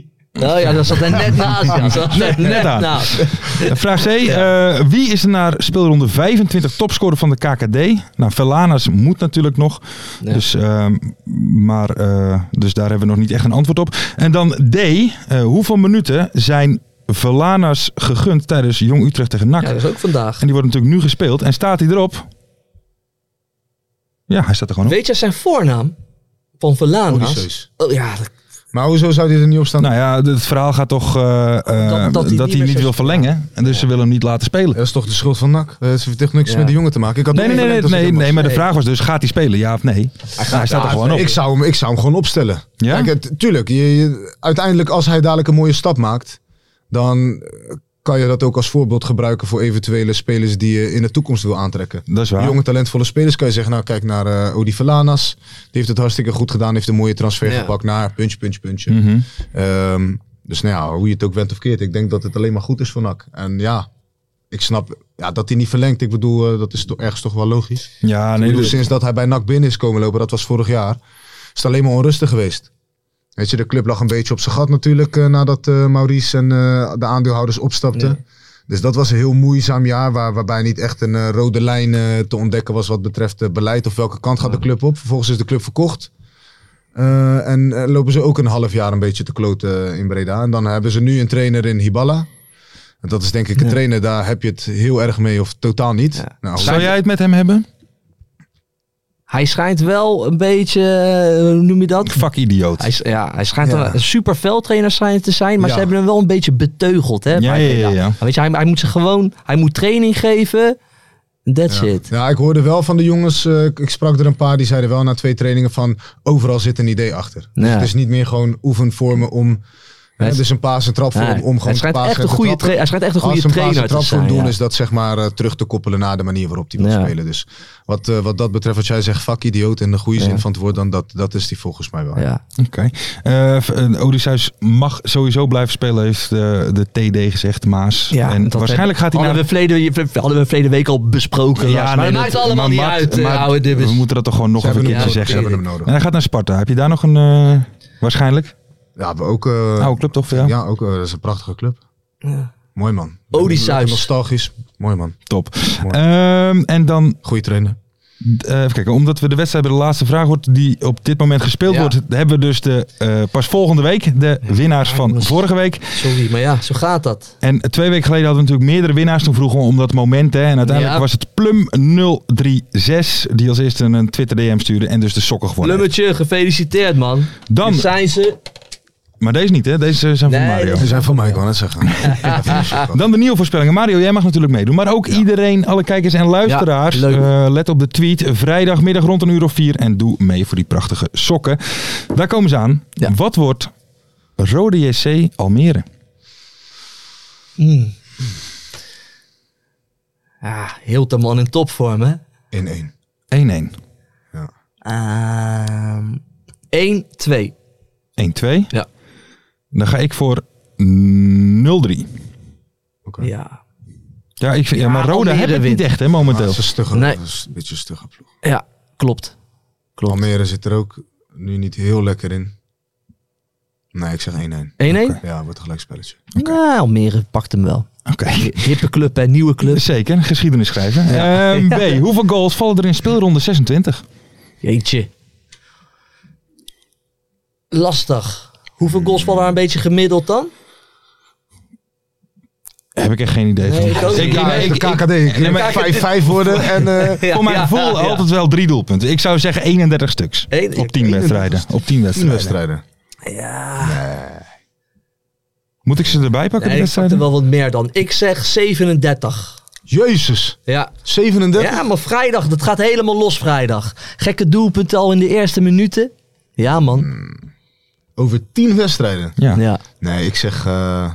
Oh ja, dat zat er net naast. Ja. Dat zat er net,
net aan.
naast.
Vraag C. eh, wie is er naar speelronde 25 topscorer van de KKD? Nou, Velanas moet natuurlijk nog.
Ja.
Dus, ehm, maar, eh, dus daar hebben we nog niet echt een antwoord op. En dan D. eh, hoeveel minuten zijn Velanas gegund tijdens Jong Utrecht tegen NAC?
Ja, dat is ook vandaag.
En die wordt natuurlijk nu gespeeld. En staat hij erop? Ja, hij staat er gewoon op.
Weet je zijn voornaam? Van Verlanas?
Odysseus.
Oh ja, dat-
Maar hoezo zou die er niet op staan?
Nou ja, het verhaal gaat toch eh, eh,
Dat- dat
dat,
hij niet
hij
meer
niet
zou
wil verlengen. En dus ze willen hem niet laten
Eh,
spelen.
Dat is toch de schuld van NAC? Eh, Ze heeft echt niks
Ja.
met die jongen te maken. Ik had
Nee, nee,
niet
nee, nee,
verlengd als
nee,
ik hem
nee,
was.
maar de vraag was dus, gaat hij spelen, ja of nee? Nou, Hij, staat er gewoon op.
Ik zou, hem, ik zou hem gewoon opstellen.
Ja?
Kijk, het- tuurlijk, je, je- uiteindelijk als hij dadelijk een mooie stap maakt, dan eh, kan je dat ook als voorbeeld gebruiken voor eventuele spelers die je in de toekomst wil aantrekken.
Dat is waar.
Jonge talentvolle spelers kan je zeggen, nou kijk naar eh Odi Velanas. Die heeft het hartstikke goed gedaan, heeft een mooie transfer
Ja.
gepakt naar puntje, puntje, puntje.
Mhm.
Ehm, dus nou ja, hoe je het ook went of keert, ik denk dat het alleen maar goed is voor NAC. En ja, ik snap ja, dat hij niet verlengt. Ik bedoel, eh, dat is toch ergens toch wel logisch.
Ja,
Ik
nee,
bedoel,
dus-
sinds dat hij bij NAC binnen is komen lopen, dat was vorig jaar, is het alleen maar onrustig geweest. Weet je, de club lag een beetje op zijn gat natuurlijk eh, nadat eh, Maurice en eh, de aandeelhouders opstapten. Dus dat was een heel moeizaam jaar waar, waarbij niet echt een eh, rode lijn eh, te ontdekken was wat betreft eh, beleid of welke kant gaat de club op. Vervolgens is de club verkocht. Eh, en eh, lopen ze ook een half jaar een beetje te kloten eh, in Breda. En dan hebben ze nu een trainer in Hiballa. En dat is denk ik een trainer, daar heb je het heel erg mee of totaal niet.
Ja.
Nou,
Zou jij het met hem hebben?
Hij schijnt wel een beetje, eh, hoe noem je dat?
Fuck idioot.
Hij, is- ja, hij schijnt
Ja.
een- een super veldtrainer schijn- te zijn, maar
Ja.
ze hebben hem wel een beetje beteugeld. Hè,
Ja,
bij
ja, ja,
Breda.
ja.
Maar Weet je, hij, hij moet ze gewoon, hij moet training geven. That's
Ja.
it.
Ja, ik hoorde wel van de jongens, eh, ik- ik sprak er een paar, die zeiden wel na twee trainingen van overal zit een idee achter. Dus
Ja.
het is niet meer gewoon oefenvormen om, hè,
Het-
dus een paas en trap voor
Ja,
om, om
hij,
gewoon te
schijnt
pasen
echt
en
een
te
goede
trappen.
tra- hij schijnt echt een
Als
goede
ze een paas
trainer
en
te
trap voor
zijn.
doen,
ja.
is dat zeg maar eh, terug te koppelen naar de manier waarop die wil
Ja.
spelen. Dus wat, eh, wat dat betreft, wat jij zegt, fuck idioot in de goede
Ja.
zin van het woord, dan dat, dat is die volgens mij wel.
Ja.
Oké. Eh, v- eh, Odysseus mag sowieso blijven spelen, heeft de, de TD gezegd, Maas.
Ja,
en
dat
waarschijnlijk gaat hij
hadden,
naar
we verleden, hadden we verleden week al besproken. Lars. maar
nee,
het
dat-
maakt allemaal
maar
niet
maakt-
uit, eh,
maakt-
oude dibbes.
We moeten dat toch gewoon nog
Ze
even
hebben hem
een keertje
nodig. Ze
zeggen.
hebben hem nodig.
En hij gaat naar Sparta. Heb je daar nog een, eh, waarschijnlijk?
Ja, we ook. eh,
Oude club toch voor jou?
Ja, ook, eh, dat is een prachtige club. Mooi man.
Odysseus.
Nostalgisch. Mooi man.
Top.
Mooi.
Ehm, en dan,
Goeie trainer.
eh, even kijken, omdat we de wedstrijd bij de laatste vraag wordt die op dit moment gespeeld
Ja.
wordt, hebben we dus de, eh, pas volgende week de winnaars van
jongens.
vorige week.
Sorry, maar ja, zo gaat dat.
En twee weken geleden hadden we natuurlijk meerdere winnaars. Toen vroegen we om dat moment. Hè. En uiteindelijk
Ja.
was het Plum036 die als eerste een Twitter DM stuurde en dus de sokken gewonnen. heeft.
Lummetje, gefeliciteerd man.
Dan,
Dit zijn ze.
maar deze niet hè, deze zijn van
Nee,
Mario.
Ze zijn van mij, ik wou net zeggen. Ja, vind ik zo grappig.
Oh. Dan de nieuwe voorspellingen. Mario, jij mag natuurlijk meedoen. Maar ook iedereen, alle kijkers en luisteraars.
Ja, leuk.
eh, let op de tweet. Vrijdagmiddag rond een uur of vier. En doe mee voor die prachtige sokken. Daar komen ze aan. Wat wordt Rode JC Almere?
Mm. Ah, Ja, Hilterman in topvorm hè.
In één.
1-1.
Ehm 1, 2.
1-2.
Ja.
Dan ga ik voor 0-3.
Ja.
Ja, ik vind, ja,
Ja,
maar Roda
Almere
heb het niet
wint. Ah,
echt hè,
Maar het
momenteel.
is een stugge,
Nee.
dat is een beetje een stugge ploeg.
ja, klopt. Klopt. 1-1?
Almere zit er ook nu niet heel lekker in. Nee, ik zeg 1-1. Ja, wordt een gelijkspelletje.
Nou, Almere pakt hem wel.
Oké.
Hippe club en nieuwe club.
Zeker, geschiedenis schrijven. Ehm, B, hoeveel goals vallen er in speelronde 26?
Jeetje. Lastig. Hoeveel goals vallen er een beetje gemiddeld dan?
Heb ik echt geen idee van.
Nee, ik ook niet.
ik-
Ja,
maar
is de
ik-
KKD. Ik
nee,
neem
maar-
5-5 worden en... eh,
Ja,
Voor mijn
ja,
gevoel
ja.
altijd wel drie doelpunten. Ik zou zeggen 31 stuks.
Eén-
op 10 wedstrijden. Op 10
tien
wedstrijden.
wedstrijden.
Moet ik ze erbij pakken?
Nee,
die
ik pak er
wedstrijden?
wel wat meer dan. Ik zeg 37.
Jezus.
Ja.
37?
ja, maar vrijdag, dat gaat helemaal los vrijdag. Gekke doelpunten al in de eerste minuten. Ja, man.
Over 10 wedstrijden.
Ja.
Ja.
Nee, ik zeg... eh,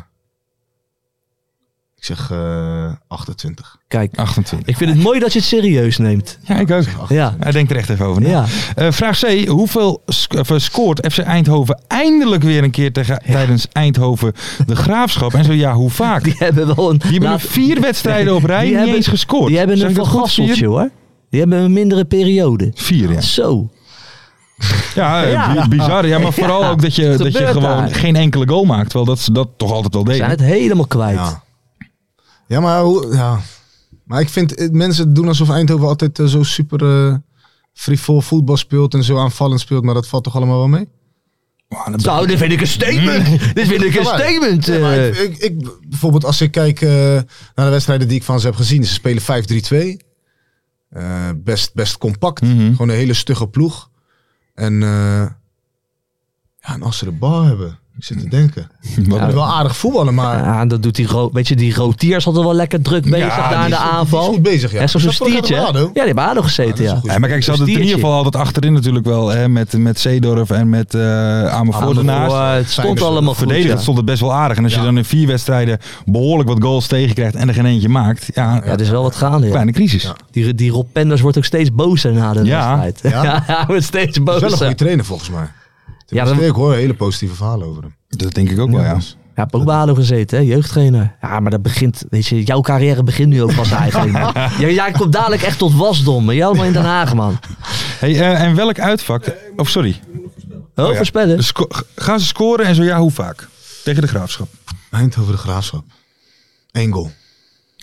ik zeg eh 28.
Kijk,
28.
ik vind het mooi dat je het serieus neemt.
Ja, ik ook.
Ja.
Hij denkt er echt even over na.
Ja.
Eh, vraag C. Hoeveel sc- of, eh, scoort FC Eindhoven eindelijk weer een keer tegen, tijdens Eindhoven de Graafschap? En zo ja, hoe vaak?
Die hebben wel een...
Die hebben
laat-
nu vier wedstrijden op rij
Die
niet
hebben-
eens gescoord.
Die hebben
Zeg
een
ik dat goed,
vergasseltje
vier?
hoor. Die hebben een mindere periode.
Vier, ja.
Zo.
Ja, eh,
Ja.
bi- bizar. Ja, maar vooral
Ja,
ook dat je,
het
dat je
gebeurt
gewoon
daar.
geen enkele goal maakt. Terwijl dat ze dat toch altijd wel deden.
Zijn het helemaal kwijt.
Ja. Ja, maar hoe... Ja. Maar ik vind... eh, Mensen doen alsof Eindhoven altijd eh, zo super... eh, frivol voetbal speelt en zo aanvallend speelt. Maar dat valt toch allemaal wel mee?
Nou, dit vind ik een statement. Dit vind ik
Hmm. Ja,
een
maar-
statement.
Nee, maar
eh.
ik, ik, ik- bijvoorbeeld als ik kijk eh, naar de wedstrijden die ik van ze heb gezien. Ze spelen 5-3-2. Eh, best, best compact.
Mhm.
Gewoon een hele stugge ploeg. En, eh, ja, en als ze de bal hebben. Ik zit te denken.
Wat-
Hij moet wel aardig voetballen, maar...
Ja, dat doet die, ro- weet je, die rotiers hadden wel lekker druk bezig
Ja,
daar
Ah, die
in de
is- die is
aanval.
goed bezig, ja.
En zo'n
Dat vond ik
stiertje. hè?
aan de
Ja,
ADO.
die hebben ADO gezeten, ja.
Ja, maar kijk, ze hadden het in ieder geval altijd achterin natuurlijk wel. Hè, met, met Zeedorf en met eh Amervoort ernaast.
Voor, eh, het stond
Feyenoord
allemaal goed,
Verdedigend
ja.
stond het best wel aardig. En als je
Ja.
dan in vier wedstrijden behoorlijk wat goals tegenkrijgt en er geen eentje maakt. Ja,
Ja, er is wel wat gaande, ja.
kleine crisis. Ja.
Die, die Rob Penders wordt ook steeds bozer na de
Ja.
wedstrijd. Ja,
Ja.
hij wordt steeds
Hij is wel een goede
bozer.
trainer, volgens mij.
Ja,
Tenminste,
dan-
Ik hoor hele positieve verhalen over hem.
Dat denk ik ook wel, ja.
Ja, heb ook bij ADO gezeten, hè, jeugdtrainer. Ja, maar dat begint, weet je, jouw carrière begint nu ook pas eigenlijk. man. Ja, jij komt dadelijk echt tot wasdom. maar Jij allemaal in Den Haag,
Oh
man.
Hey, eh, en welk uitvak... Of sorry.
Oh, voorspellen.
Dus-
Sco- gaan ze scoren en zo ja, hoe vaak? Tegen de Graafschap.
Eindhoven de Graafschap. Eén goal.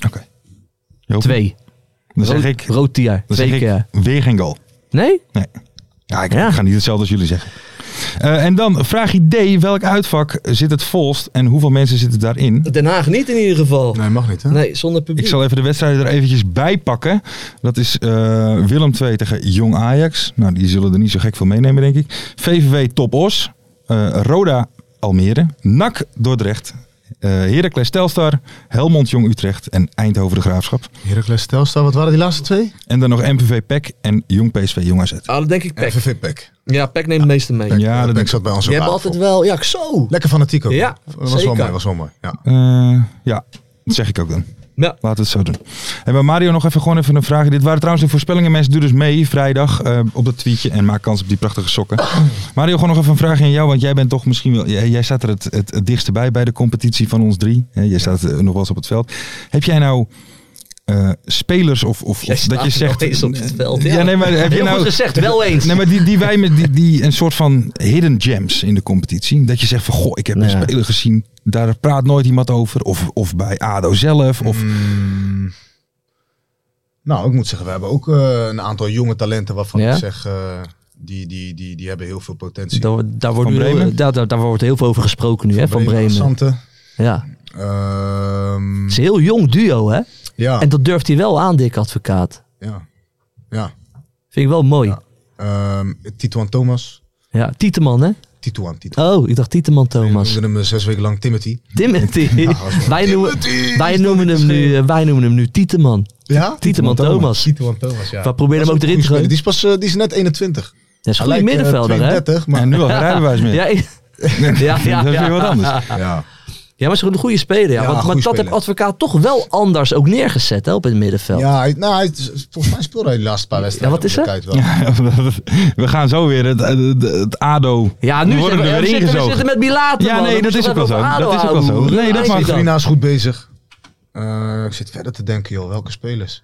Oké. Joop,
Twee.
Dan zeg
Rood-
ik,
Rood tier.
dan zeg
Twee keer.
ik weer geen goal.
Nee?
Nee. Ja, ik
Ja.
ga niet hetzelfde als jullie zeggen. Eh, en dan vraag D, welk uitvak zit het volst en hoeveel mensen zitten daarin?
Den Haag niet in ieder geval.
Nee, mag niet, hè?
Nee, zonder publiek.
Ik zal even de wedstrijden er eventjes bij pakken. Dat is eh, Willem 2 tegen Jong Ajax. Nou, die zullen er niet zo gek veel meenemen, denk ik. VVV Top Os. Eh, Roda Almere. NAC Dordrecht. eh Heracles Telstar. Helmond Jong Utrecht. En Eindhoven de Graafschap.
Heracles Telstar, wat waren die laatste twee?
En dan nog MVV PEC E en Jong PSV Jong AZ.
Ah, dan denk ik Peck.
FVV Pek.
Ja, Peck neemt de meeste mee.
Ja, dat
Pek
denk ik.
zat bij ons
Je
op
hebt
tafel.
altijd wel... Ja, zo.
Lekker fanatiek ook. Eh,
Ja,
was
zeker.
wel mooi, was wel mooi. Ja.
Eh, ja, dat zeg ik ook dan.
Ja.
Laten we het zo doen. En bij Mario nog even gewoon even een vraag. Dit waren trouwens de voorspellingen. Mensen, doe dus mee vrijdag eh, op dat tweetje en maak kans op die prachtige sokken. Mario, gewoon nog even een vraag aan jou. Want jij bent toch misschien wel... Jij, jij staat er het, het, het dichtst bij bij de competitie van ons drie. Hè, jij staat eh, nog wel eens op het veld. Heb jij nou... eh, spelers of, of,
Jij
of dat
staat
je
er
zegt
wel eens op het veld, ja.
nee maar heb je
Heel
nou
goed gezegd, wel eens.
nee maar die, die wij met die, die een soort van hidden gems in de competitie dat je zegt van goh ik heb een
Ja.
speler gezien daar praat nooit iemand over of, of bij Ado zelf of
Nou, ik moet zeggen, we hebben ook eh, een aantal jonge talenten waarvan
Ja?
ik zeg, eh, die, die, die, die hebben heel veel potentie.
Daar, wordt- daar, wordt
Van
nu-
Bremen?
daar, daar, daar wordt heel veel over gesproken nu, hè, van Bremen.
Sante.
Ja.
Ehm,
Het is een heel jong duo, hè?
ja,
En dat durft hij wel aan, Dick Advocaat.
ja, ja.
Vind ik wel mooi. Ja,
Ja. Ehm, Tituan Thomas.
Tieteman, hè?
Tituan, Tituan.
Oh, ik dacht Tieteman
We
Thomas.
noemden hem zes weken lang Timothy.
Timothy. wij, noemen,
Timothy,
wij,
is dat
noemen
niet
hem nu,
verschil?
eh, wij noemen hem nu Tieteman.
Ja?
Tieteman Thomas.
Tituan Thomas, ja.
We
Dat
proberen hem ook
is
erin
een goede speler.
te gooien.
Die is, pas, eh, die is net 21.
Dat is een
Hij
goede
lijkt, eh,
middenvelder, hè?
32, maar...
en nu al geen rijbewijs meer
Ja, ik- ja, ja,
dat is
ja.
weer wat anders
Ja.
Ja, maar ze is een goede speler. Ja.
Ja,
want want
goede
dat heeft
speler.
advocaat toch wel anders ook neergezet hè, op het middenveld.
Ja, hij- nou, hij, volgens mij speelde hij de laatste paar wedstrijden.
Ja, wat is
op
er?
de kite wel.
we gaan zo weer het, het, het ADO
Ja,
We
nu
worden
zitten
er
we, we
weer
zitten, we
ingezogen.
zitten met Bilater.
Ja,
man.
nee,
Dan
dat
moeten
is
we
ook wel
even
zo.
ADO
Dat is ook wel
houden.
zo. Nee, dat
Lijkt
mag
je dan.
Grina is goed bezig. Eh, ik zit verder te denken, joh. Welke spelers?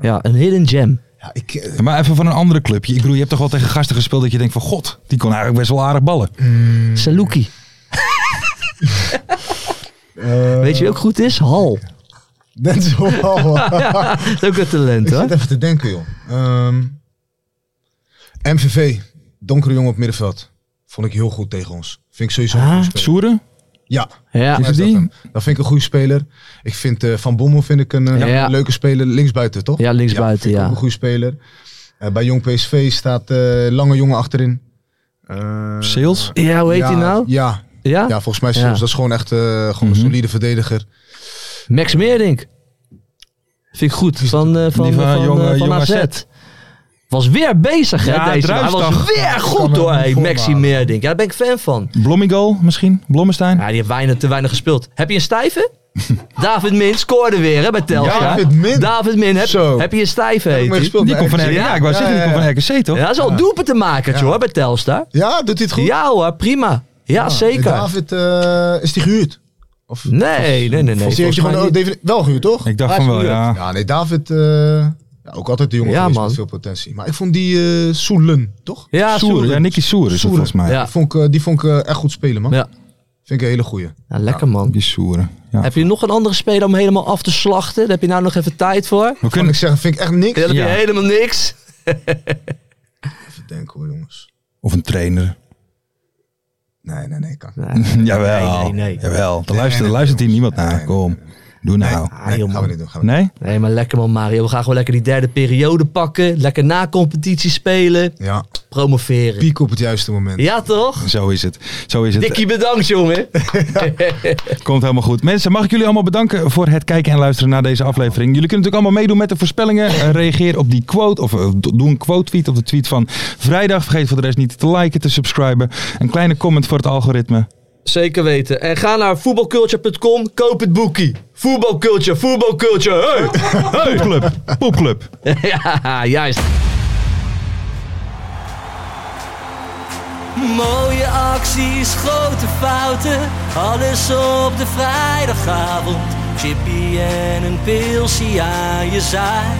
Ja, een hidden gem.
Ja, ik, eh,
maar even van een andere clubje ik bedoel je hebt toch wel tegen gasten gespeeld dat je denkt van god die kon eigenlijk best wel aardig ballen Hmm.
Saluki. Weet je wie ook goed is? Hal.
dat is wel...
Dat is ook een talent,
ik
hoor.
zit even te denken, joh. Ehm, MVV. Donkere jongen op middenveld. Vond ik heel goed tegen ons. Vind ik sowieso een
Ah.
goede speler.
Soeren
Ja,
Ja.
is
het die?
dat hem. Dat vind ik een goede speler. Ik vind eh, Van Bommel vind ik een, eh,
Ja.
een leuke speler. Linksbuiten, toch?
Ja, linksbuiten,
vind ik
ja.
ook een goede speler. Eh, bij Jong PSV staat eh, Lange Jongen achterin. Eh,
sales
ja, hoe heet
ja,
hij nou?
Ja,
Ja?
ja, volgens mij is
Ja. Mhm.
Sils- dat is gewoon echt eh, gewoon een solide verdediger.
Max Meerdink. Vind ik goed. Van, eh, van,
Die van,
van, eh,
jong, eh,
van
jong
AZ.
AZ.
Was weer bezig, hè,
Ja,
deze. Hij was
Druifstag.
weer goed,
me
hoor.
niet
Hey, Maxi
voormaken.
Meerdink. Ja, daar ben ik fan van.
Blommigal misschien Blommestein
Ja, die heeft weinig, te weinig gespeeld. Heb je een stijve? David Min scoorde weer hè, bij Telstra.
David Min.
David Min, heb,
Zo.
heb je een stijve?
Heb ik
heet
mee
hij?
gespeeld
die
bij
komt van
RKC.
RKC ja ik wou zeggen die komt van RKC toch
Ja, dat is al doelpen te maken, hoor, bij Telstra.
Ja, doet hij het goed? Ah,
Ja hoor, prima. Ja, zeker.
David, eh, is die gehuurd? Of,
Nee, nee, nee. nee.
of die heeft
volgens
je
mij
gewoon
niet.
definitief- wel gehuurd, toch?
ik dacht
Hij
van
is
wel
gehuurd.
ja
Ja, nee, David... eh, ja, ook altijd de jongen
Ja,
ja,
man.
met veel potentie. Maar ik vond die eh Soelen, toch?
Ja,
Soeren ja Nicky Soeren is dat
Soeren.
volgens mij
Ja.
Die vond ik, eh, die vond ik eh, echt goed spelen, man.
Ja.
Vind ik een hele goeie.
Ja, lekker man.
die Soeren ja
Heb je nog een andere speler om helemaal af te slachten? Daar heb je nou nog even tijd voor.
we
Kan
kunnen
ik zeggen, vind ik echt niks.
Ja, dan heb je
Ja.
helemaal niks.
Even denken hoor, jongens.
of een trainer
Nee, nee, nee, kan ik
Jawel.
Nee, nee, nee.
Jawel. Dan luistert, dan luistert hier niemand naar. Kom. Doe nou.
Ah,
Nee,
joh,
gaan we
man.
niet doen. Gaan we
Nee?
Nee, maar lekker man Mario. We gaan gewoon lekker die derde periode pakken. Lekker na competitie spelen.
niet. Ja.
promoveren.
Piek op het juiste moment.
Ja, toch?
Zo is het. Zo is het.
Dikkie, bedankt, jongen.
Komt helemaal goed. Mensen, mag ik jullie allemaal bedanken voor het kijken en luisteren naar deze aflevering. Jullie kunnen natuurlijk allemaal meedoen met de voorspellingen. Eh, Reageer op die quote of eh, do- doe een quote tweet op de tweet van vrijdag. Vergeet voor de rest niet te liken, te subscriben. Een kleine comment voor het algoritme.
Zeker weten. En ga naar voetbalculture.com, koop het boekie. Voetbalculture, voetbalculture, hey!
Club, poepclub.
hey. ja, juist.
Mooie acties, grote fouten, alles op de vrijdagavond. Chippy en een pilsie aan je zaai.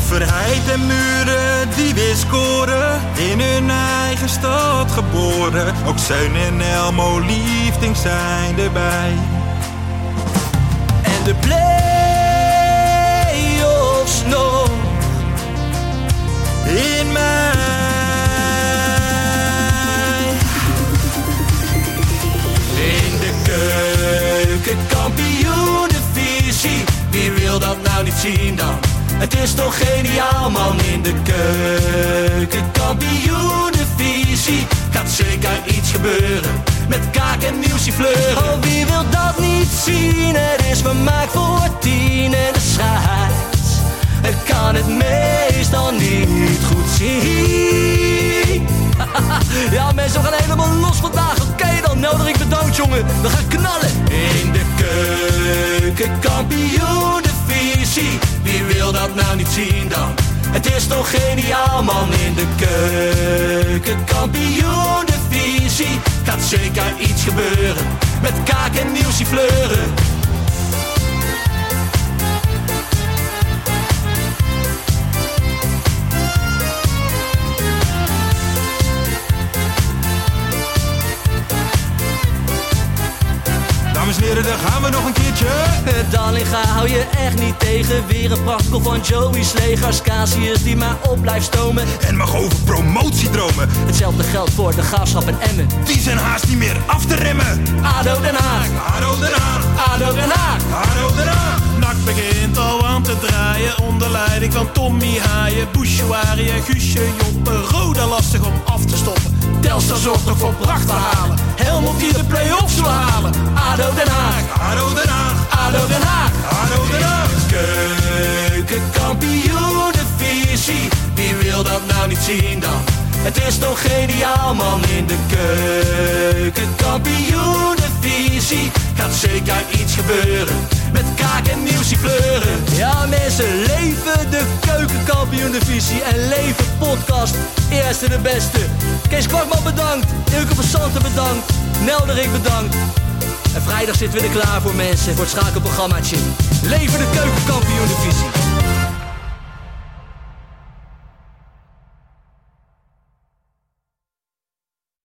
Verheid en muren die weer scoren, in hun eigen stad geboren. Ook Zeun en Elmo liefding zijn erbij.
En de play-offs nog
In mij.
in de keuken, kampioenenvisie. Wie wil dat nou niet zien dan? Het is toch geniaal man in de keuken, kampioenenvisie. Gaat zeker iets gebeuren met kaak en nieuwsje fleuren. Oh, wie wil dat niet zien? Het is vermaakt voor tien en de scheids. Het kan het meestal niet goed zien. Ja, mensen, we gaan helemaal los vandaag. Oké dan, Nelderik bedankt, jongen. We gaan knallen. In de keuken, kampioen, de visie. Wie wil dat nou niet zien dan? Het is toch geniaal, man. In de keuken, kampioen, de visie. Gaat zeker iets gebeuren. Met kaak en nieuwsie fleuren.
Dames en heren, daar gaan we nog een keertje.
Dallinga hou je echt niet tegen. Weer een prachtkel van Joey's legers. Casius die maar op blijft stomen.
En mag over promotiedromen,
Hetzelfde geldt voor de graafschap en Emmen.
die zijn haast niet meer af te remmen.
ADO Den Haag,
Haro Den Haag,
ADO Den Haag.
Haro Den Haag.
Nak begint al aan te draaien onder leiding van Tommy Haaien, Bouchoirie, Guusje, Joppe, Roda lastig om af te stoppen.
Telstar zorgt nog voor pracht te halen. Helmond die de play-offs wil halen. ADO Den Haag,
Haro Den Haag,
ADO Den Haag.
Haro Den Haag.
Keukenkampioenenvisie, wie wil dat nou niet zien dan? Het is toch geniaal man in de keukenkampioenenvisie. Gaat zeker iets gebeuren, met kaak en nieuwsie kleuren. Ja mensen, leven de keukenkampioenenvisie en leven podcast. Eerste de beste. Kees Kwakman bedankt, Ilke van Santen bedankt, Nelderik bedankt. En vrijdag zitten we er klaar voor mensen, voor het schakelprogrammaatje. Leven de keukenkampioen divisie.